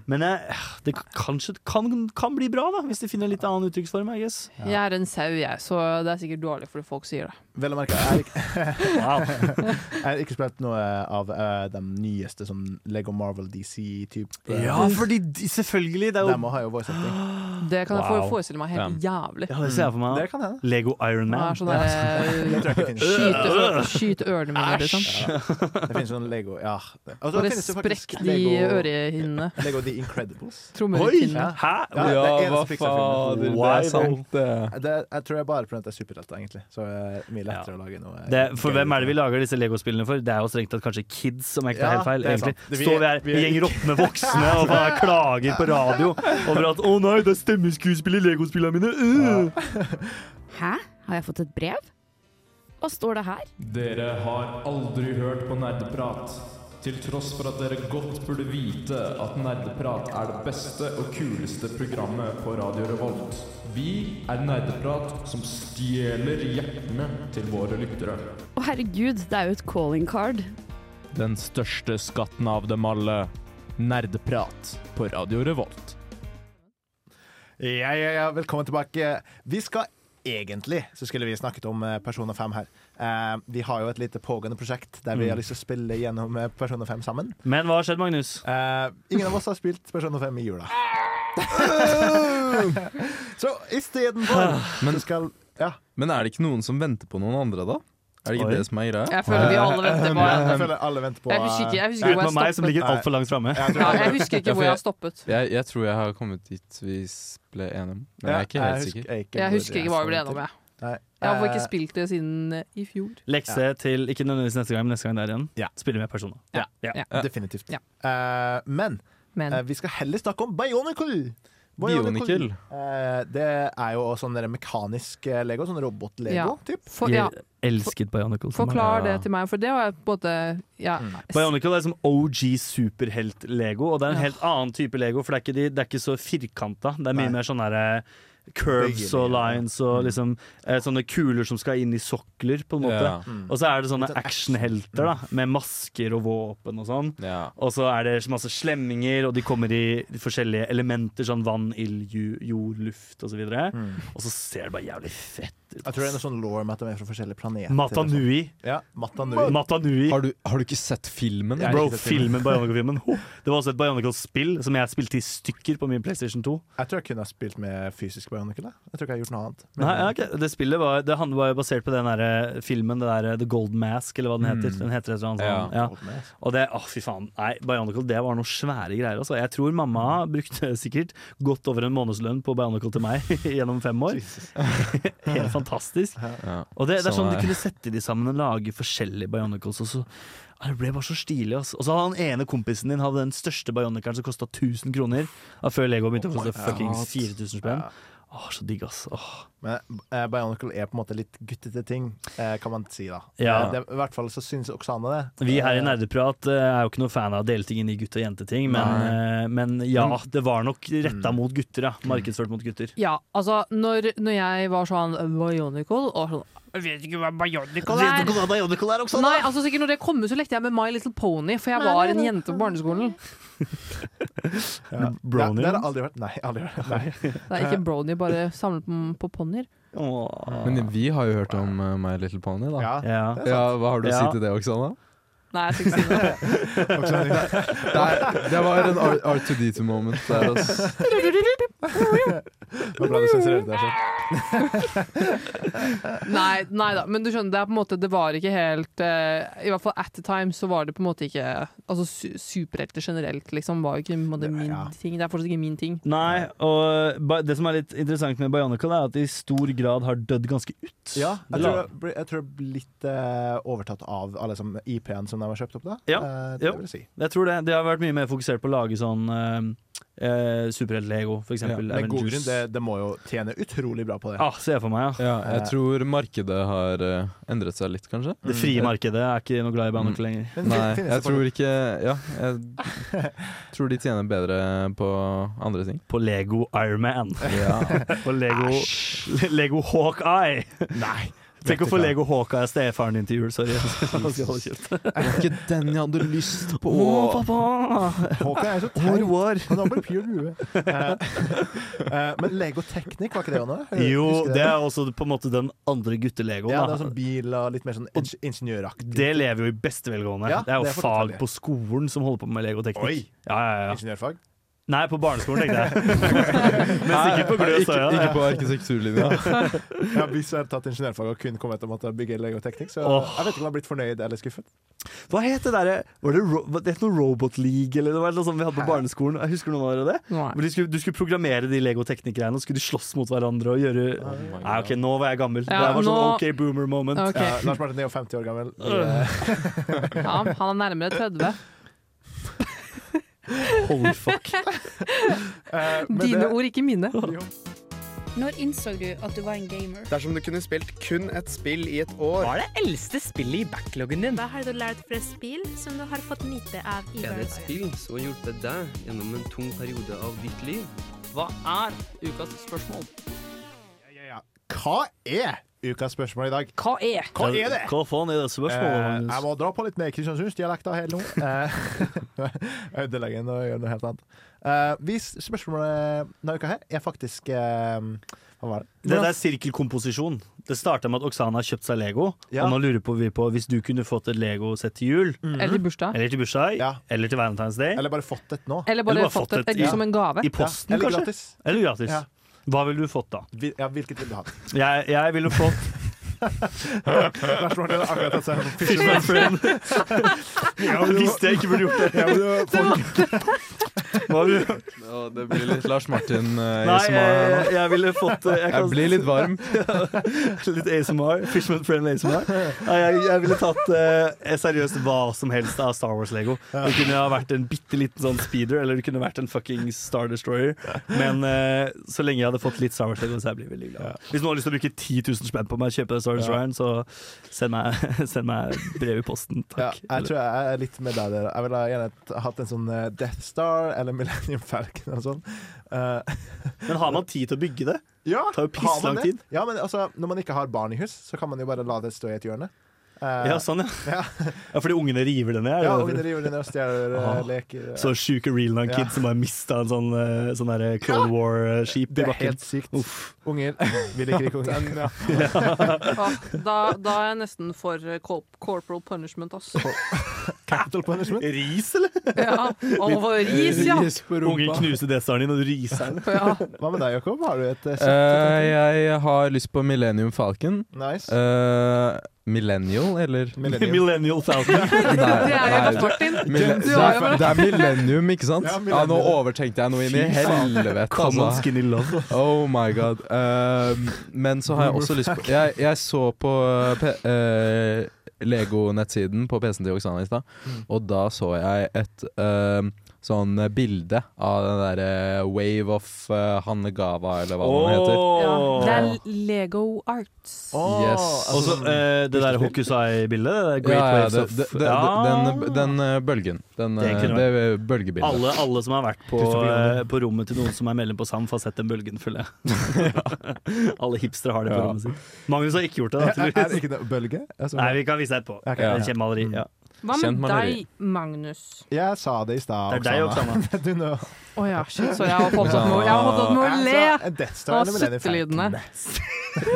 Men jeg, det kanskje kan, kan bli bra, da, hvis de finner en litt annen uttrykksform. I guess.
Jeg er en sau, jeg, så det er sikkert dårlig for det folk sier det.
Vel å merke, jeg,
Wow.
jeg har ikke spilt noe av eh, de nyeste, sånn Lego Marvel DC-type.
Ja, fordi de, selvfølgelig. Det er
De
jo
må ha jo voice acting.
Det kan jeg
Wow.
for- forestille meg helt jævlig.
ja, det ser jeg for meg.
Mm, Det kan hende.
Lego Iron
Det er
Man.
sånn derre
Det tror jeg ikke finnes.
Skyte, ø- skyte ørene mine, liksom.
Det finnes sånn Lego Ja. Og så
Bare
finnes det faktisk
sprekk de
Lego-
ørehinnene.
Lego The Incredibles.
Oi!
Trommehinnene.
Hæ?
Ja, det er eneste Pixar-filmen.
fader,
Wow.
det.
Det, jeg tror jeg bare prøvde at det er superhelter, egentlig. Så det er mye lettere å lage noe.
Det, for hvem er det vi lager disse Lego-spillene for? Det er jo strengt tatt kanskje kids som ikke
Ja,
er helt feil.
det er
egentlig
sant. Vi-
Står vi her,
vi
en
er
gjeng
ikke-
råtne voksne og bare klager på radio over at 'Å nei, det er stemmeskuespill i Lego-spillene mine'. Uh.
Hæ? Har jeg fått et brev? Hva står det her?
Dere har aldri hørt på nerdeprat. Til tross for at dere godt burde vite at Nerdeprat er det beste og kuleste programmet på Radio Revolt. Vi er Nerdeprat som stjeler hjertene til våre lyttere.
Å herregud, det er jo et calling card.
Den største skatten av dem alle. Nerdeprat på Radio Revolt.
Ja, ja, ja, velkommen tilbake. Vi skal egentlig så skulle vi snakket om eh, Persona 5 her. Eh, vi har jo et lite pågående prosjekt der vi
Mm.
har lyst til å spille gjennom eh, Persona 5 sammen. Eh,
Men hva har skjedd, Magnus?
ingen av oss har spilt Persona 5 i jula. så istedenfor så skal ja.
Men er det ikke noen som venter på noen andre, da? Er det ikke
Oi.
det som er greia?
Jeg føler vi alle venter på-
Jeg føler alle venter på
Jeg husker ikke, jeg husker ikke hvor jeg stoppet.
langt framme.
Ja, jeg husker ikke hvor jeg har stoppet.
Jeg, jeg tror jeg har kommet dit vi s- ble enige om, men jeg er ikke
Ja,
helt
jeg
sikker.
husker- jeg er ikke
Jeg husker ikke hva vi ble enige om, jeg. Jeg har
eh,
ikke spilt det siden eh, i fjor.
Lekse til ikke nødvendigvis neste gang, men neste gang der igjen. Spille med personer.
Ja, definitivt. Eh, men eh, vi skal heller snakke om Bionicle!
Bionicle.
Eh, det er jo sånn der mekanisk eh, Lego, sånn robot-Lego.
Ja.
typ.
For, ja.
Elsket Bionicle. som
Forklar
barn.
det til meg, for det var jeg på en måte ja.
Bionicle er som OG superhelt-lego, og det er en
Ja.
helt annen type lego, for det er ikke, de, det er ikke så firkanta. Det er mye
Nei.
mer sånn derre Curves og lines og
Mm.
liksom eh, sånne kuler som skal inn i sokler, på en måte.
Ja. Mm.
Og så er det sånne
sånn
actionhelter,
Mm.
da, med masker og våpen og sånn. Og så er det masse slemminger, og de kommer i forskjellige elementer, sånn vann, ild, ju- jord, luft og så videre. Og så ser det bare jævlig fett ut.
Mm. Jeg tror det er noe sånn lore med at de er fra forskjellige planeter. liksom.
Matanui.
Ja, Matanui.
Matanui.
Har du, har du ikke sett filmen?
Jeg har
Bro,
ikke sett filmen.
filmen Bionicle-filmen. Ho! Det var også et Bionicle-spill som jeg spilte i stykker på min PlayStation 2.
Jeg tror jeg kunne ha spilt med fysisk Bionicle. jeg. Jeg tror ikke jeg har gjort noe annet. Men-
Nei, ja, ok. Det spillet var, det handlet- var jo basert på den der eh, filmen, det der eh, The Gold Mask, eller hva den heter.
Mm.
Den heter et eller annet sånt.
Ja.
Ja.
Gold Mask.
Og det, å fy faen. Nei, Bionicle, det var noen svære greier. Altså. Jeg tror
Mm.
mamma brukte sikkert godt over en månedslønn på Bionicle til meg gjennom fem år. Helt fantastisk. Og det, det er
Sånn
sånn
er
de kunne sette de sammen og lage forskjellige Bionicles. Og så, ah, det ble bare så stilig. ass. Og så hadde han ene kompisen din Hadde den største Bioniceren som kosta 1000 kroner. da Før Lego begynte å
Oh my
koste fuckings
God.
4000 spenn. Åh, så digg, ass. Åh.
Men eh, Bionicle er på en måte litt guttete ting, eh, kan man si da.
Ja.
Eh, det, I hvert fall så syns Oksane det.
Vi her i
Eh,
Nerdeprat eh, er jo ikke noe fan av å dele ting inn i gutt- og jenteting, men, eh, men ja, det var nok retta
Mm.
mot gutter, ja. Markedsført mot gutter.
ja, altså, når, når jeg var sånn Bionicle og sånn Jeg vet ikke hva Bionicle
Vet
er!
du hva Bionicle er,
Sånn,
Oksana?
Nei, altså sikkert når det kom ut, så lekte jeg med My Little Pony, for jeg
Nei,
var
nei,
en
nei.
jente på barneskolen.
ja.
Brownies?
Ja, det har jeg aldri vært. Nei, aldri vært. Nei.
Det er ikke brony, bare samle på, på ponnier.
Men vi har jo hørt om uh, My Little Pony, da.
Ja,
det er sant.
ja Hva har du å
Ja.
si til det, Oksana?
Nei, jeg skal ikke
Der, det var en R- R2D2-moment der, altså.
Det var bra du sensurerte deg selv.
Nei, nei da, men du skjønner, det er på en måte Det var ikke helt eh, I hvert fall at the time så var det på en måte ikke Altså su superhelter generelt liksom var jo ikke på en måte, min ting. Det er fortsatt ikke min ting.
Nei, og ba- det som er litt interessant med Bionicle, er at det i stor grad har dødd ganske ut.
Ja,
Det
jeg tror
la-
jeg ble- jeg tror jeg ble litt eh, overtatt av alle som IP-en som de har kjøpt opp, da.
Ja,
Eh,
ja.
det vil jeg si.
Jeg tror det. De har vært mye mer fokusert på å lage sånn eh, eh, superhelt-lego, for
Ja,
eksempel.
med god
Avengers.
grunn, det, det må jo tjene utrolig bra på det.
Ah, ser jeg for meg, ja.
Ja, jeg tror markedet har eh, endret seg litt, kanskje.
Det
Mm.
frie markedet er ikke noe glad i Bionicle lenger.
Mm. Nei, jeg tror ikke Ja, jeg tror de tjener bedre på andre ting.
På Lego Ironman.
Ja.
På Lego, Lego Hawkeye.
Nei.
Tenk å få Lego Hawkeye av stefaren din til jul, sorry. Han skal holde kjeft.
Er det ikke den jeg hadde lyst på?
Å, pappa!
Håkon er så teit. Han har bare pure lue. Eh, eh, men Lego Technic, var ikke det Anne? Husker
Jo,
du
det er også på en måte den andre guttelegoen.
Ja, det
da.
er sånn bil og litt mer sånn ing- ingeniøraktig.
Det lever jo i beste velgående.
Ja,
det er jo
det er fortsatt
fag
det.
på skolen som holder på med legoteknikk.
Oi.
Ja, ja, ja.
Ingeniørfag?
Nei, på barneskolen, tenkte jeg. Men sikkert på gløs.
Ikke, ikke på arkitekturlinja.
Ja, hvis jeg hadde tatt ingeniørfag og kun kommet til å måtte bygge Lego Technic, så
Åh.
jeg vet ikke om jeg hadde blitt fornøyd eller skuffet.
Hva het det derre Var det, ro var det noe Robot League eller det var noe sånt vi hadde på barneskolen? Jeg husker noen av dere det?
Nei.
Hvor du skulle, du skulle programmere de legoteknikk-greiene, og skulle de slåss mot hverandre og gjøre Nei, OK, nå var jeg gammel.
Ja,
det var sånn
nå-
OK boomer moment.
Ok.
Ja, Eh, Lars Martin er jo 50 år gammel. Eh,
Ja, han er nærmere 30.
Holy fuck.
Eh, men
Dine
det-
ord, ikke mine.
Når innså du at du var en gamer?
Dersom du kunne spilt kun et spill i et år
Hva er det eldste spillet i backloggen din?
Hva har du lært fra spill som du har fått nyte av i
Er det et
hverdagen?
spill som har hjulpet deg gjennom en tung periode av ditt liv? Hva er ukas spørsmål?
Hva er ukas spørsmål i dag?
Hva er,
Hva er det?
Hva faen er det spørsmålet,
Eh,
Magnus?
jeg må dra på litt mer Kristiansundsdialekta her nå. Eh, Jeg ødelegger den og gjør noe helt annet. Eh, vi s- spørsmålet denne uka her er faktisk eh, Hva var det?
Det der er sirkelkomposisjon. Det starta med at Oksana har kjøpt seg Lego.
Ja. Mm.
Og nå lurer på vi på hvis du kunne fått et Lego-sett til jul.
Mhm. Eller til bursdag.
Eller til, bursdag, eller til Valentine's Day.
Eller bare fått et nå.
Eller bare fått et- eller som en gave.
I Eh,
Ja,
posten,
eller
kanskje.
gratis.
Eller gratis.
Ja.
Hva ville du fått da?
Vi- Ja, hvilket vil du ha?
Jeg, jeg ville fått
Lars Martin har akkurat tatt seg en
Fish my friend. Ja, men jeg visste jeg ikke burde gjort det.
Ja, men det var-
Ja, det blir litt Lars Martin eh,
Nei,
ASMR her nå.
jeg, jeg ville fått eh,
Jeg blir litt varm.
litt ASMR. Fishman friend ASMR. Nei, jeg, jeg ville tatt eh, seriøst hva som helst av Star Wars-lego. Det kunne ha vært en bitte liten sånn speeder, eller det kunne vært en fucking Star Destroyer. Men eh, så lenge jeg hadde fått litt Star Wars-lego, så jeg blir veldig glad. Hvis noen har lyst til å bruke 10 000 spenn på meg og kjøpe Star Destroyeren, så send meg, send meg brev i posten.
Ja,
Takk.
jeg tror jeg er litt med deg der. Jeg ville gjerne t- hatt en sånn eh, Death Star eller Millennium Falcon eller sånn.
Men har man tid til å bygge det?
Ja,
Det tar jo
har man
pisslang
det?
tid.
Ja, men altså, når man ikke har barn i hus, så kan man jo bare la det stå i et hjørne. Eh,
Ja, sånn, ja. ja. Fordi ungene river det ned? er det
Ja,
det?
ungene river det ned og stjeler eh,
Ah,
leker.
Så sjuke real nine
Ja.
kids som har mista en sånn, eh, sånn der Cold War-skip i
Det er
bakken.
helt sykt.
Uff.
Unger. Vi liker ikke unger.
Den, ja.
Ah, da, da er jeg nesten for eh, cor corporal punishment, ass.
Capital punishment.
Ris, eller?
Ja, over ris, ja.
Ris på rumpa. Ungen knuser desserten din, og du riser den.
Hva med deg, Jakob? Har du et eh,
Eh, jeg har lyst på Millennium Falcon.
Nice.
Eh, millennial, eller?
Millennium. Millennial Falcon.
nei,
Det er jo
nei.
Lars Martin.
Mille-
Du
det,
har jo
er,
vært-
det er millennium, ikke sant?
Ja,
Ja,
millennium.
nå overtenkte jeg noe inn i
Fy faen.
helvete. altså.
Come on, skinny love.
Oh my god. Eh, men så har jeg også lyst på Jeg, jeg så på eh, P- eh, Lego-nettsiden på PC-en til Oksana i stad,
Mm.
og da så jeg et eh, sånn bilde av den derre Wave of eh, Hannegava, eller hva den
Ja,
heter.
det er Lego Arts.
Yes.
Og så eh, det der Hokusai-bildet. det der Great
altså, ja, ja,
Waves
det,
of
det, det,
Ja.
den, den eh, bølgen. Den,
Det
eh,
kunne
det bølgebildet.
Alle, alle som har vært på,
Tusen takk.
eh, på rommet til noen som er medlem på SAMF, har sett den bølgen, føler jeg. alle hipstere har det på
Ja.
rommet sitt. Magnus har ikke gjort det, da,
Er, er det
tydeligvis.
ikke noe bølge?
sånn?
Altså,
Nei, vi kan vise deg etterpå.
Ok.
Det er et Kjent
Mm.
maleri. Ja.
Hva med deg, Magnus?
Jeg sa det i stad,
Det er deg,
Du nå.
Å ja, shit, sorry. Jeg har
Liksom.
fortsatt med å- jeg har fortsatt med å le
Jeg sa en Death Star
av
eller Millennium
suttelydene.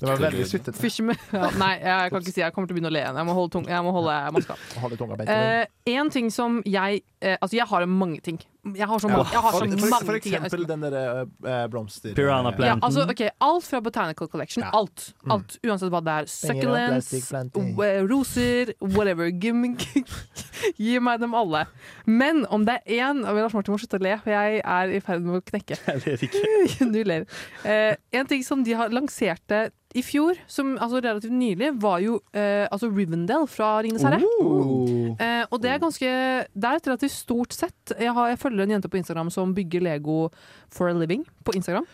Det var veldig suttete.
Fisherman- Ja, nei, jeg kan ikke si jeg kommer til å begynne å le igjen. Jeg må holde, tung, jeg må holde maska.
Holde tunga beint i munnen.
Eh, en ting som jeg eh, Altså, jeg har mange ting. Jeg har så, mange- jeg har så
for,
mange
for, for
ting. jeg ønsker
eksempel
meg.
den derre eh, blomster...
Ja, altså, ok, alt fra Botanical Collection. Alt.
Mm.
alt Uansett hva det er. Succulents,
plastikkplanting.
w- eh, roser, whatever. Gi meg- Gi meg dem alle. Men om det er én og Lars Martin må slutte å le, for jeg er i ferd med å knekke.
Jeg ler ikke.
du ler. Eh, en ting som de har lanserte i fjor, som, altså relativt nylig, var jo eh, altså Rivendell fra Ringenes herre.
Oh.
Eh, og det er ganske Det er et relativt stort sett. Jeg, har, jeg følger en jente på Instagram som bygger Lego for a living på Instagram.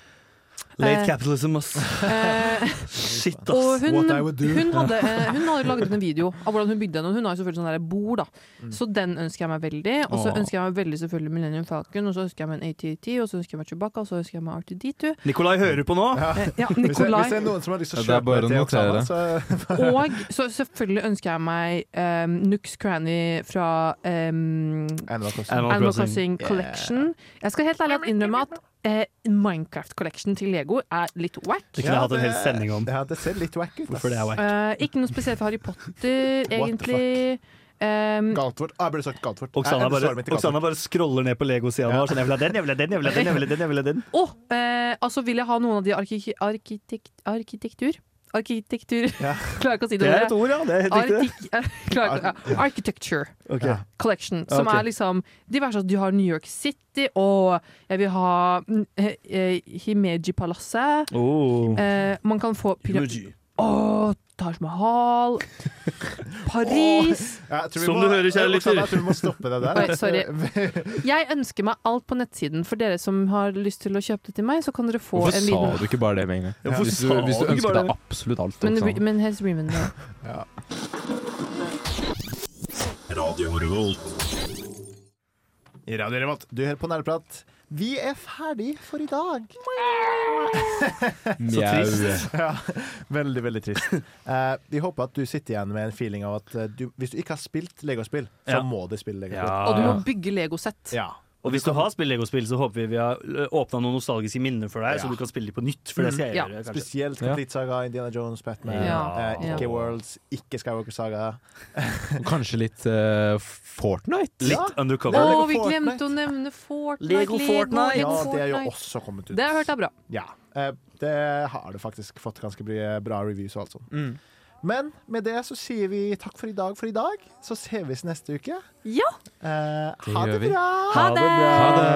Late
Eh,
capitalism, ass.
Eh,
Shit, ass.
og hun, hun, hadde, eh, hun hadde laget en video av hvordan hun bygde den, og hun har jo selvfølgelig sånn der bord, da.
Mm.
Så den ønsker jeg meg veldig. Og så
Åh.
ønsker jeg meg veldig selvfølgelig Millennium Falcon, og så ønsker jeg meg en ATT, og så ønsker jeg meg Chewbacca, og så ønsker jeg meg R2D2.
Nikolai hører på nå.
ja,
Hvis det,
Eh, Nikolai.
hvis det er noen som har lyst til å
Ja, det er
kjøpe
bare
det
å
til
notere
Oksana, så
Og så selvfølgelig ønsker jeg meg eh, Nux Cranny fra eh,
Animal Crossing.
Animal,
Animal
Crossing
Crossing.
Collection. Jeg skal helt ærlig at innrømme at eh, Minecraft Collection til Lego er litt wack.
Det kunne jeg hatt en hel sending om.
Ja, det ser litt wack ut. altså. ass.
Hvorfor det er wack?
Eh, ikke noe spesielt for Harry Potter,
the
egentlig. Um,
Galtvort. Ah, jeg burde sagt Galtvort.
Oksana
Jeg endte
bare,
svaret mitt i
Oksana
Galtvort.
bare scroller ned på Lego-sida nå. Sånn, jeg vil ha den, jeg vil ha den, jeg vil ha den. Jeg vil ha den, jeg vil ha den.
og eh, altså vil jeg ha noen av de arki- arkitekt, arkitektur Arkitektur Klarer ikke å si det.
Det
ordet.
er et ord, ja. Det er helt riktig.
Artik- Klarer ikke- ja. Architecture
Ok.
Collection, som
Ok.
er liksom diverse at du har New York City, og jeg vil ha mm, eh, eh, Himeji-palasset.
Oh.
Eh, man kan få pyra-
Himeji.
Åh, Taj Mahal, Paris
Ja, jeg tror vi må- Oksana, Jeg tror vi må stoppe det der.
Oi, sorry. Jeg ønsker meg alt på nettsiden. For dere som har lyst til å kjøpe det til meg, så kan dere få
Hvorfor
en
sa
liten
du ikke bare det med en gang?
Ja, hvorfor
hvis du,
sa
hvis du
du ikke
ønsker
bare
deg
det?
absolutt alt. sånn
Men,
Oksana.
men helst Reman.
Ja.
Radio Revolt.
I Radio Revolt, du hører på Nerdeprat. Vi er ferdig for i dag. Så
Mjau.
trist. Ja, veldig, veldig trist. Eh, vi håper at du sitter igjen med en feeling av at eh, du, hvis du ikke har spilt Legospill, så
Ja.
må du spille Legospill.
Ja.
Og du må bygge legosett.
Ja.
Og hvis du har spilt Lego-spill, så håper vi vi har åpna noen nostalgiske minner for deg, så du kan spille dem på nytt. For det skal jeg
Ja.
gjøre, kanskje.
Spesielt Complete Saga, Indiana Jones, Batman,
Ja.
eh, ikke Worlds, ikke Skywalker Saga.
Og kanskje litt eh, Fortnite?
Litt Ja.
Å,
undercover.
vi glemte å nevne Fortnite.
Lego Fortnite.
Lego
Ja, det er jo
Fortnite.
også kommet ut.
Det har jeg hørt er bra.
Ja. eh, Det har det faktisk fått ganske bra- bra reviews og alt sånt. Men med det så sier vi takk for i dag for i dag. Så ses vi neste uke.
Ja.
Eh,
Det
ha
gjør
det
vi.
bra!
Ha det bra. Ha det.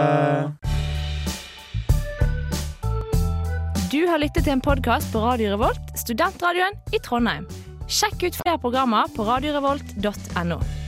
Du har lyttet til en podkast på Radio Revolt, studentradioen i Trondheim. Sjekk ut flere programmer på radiorevolt.no.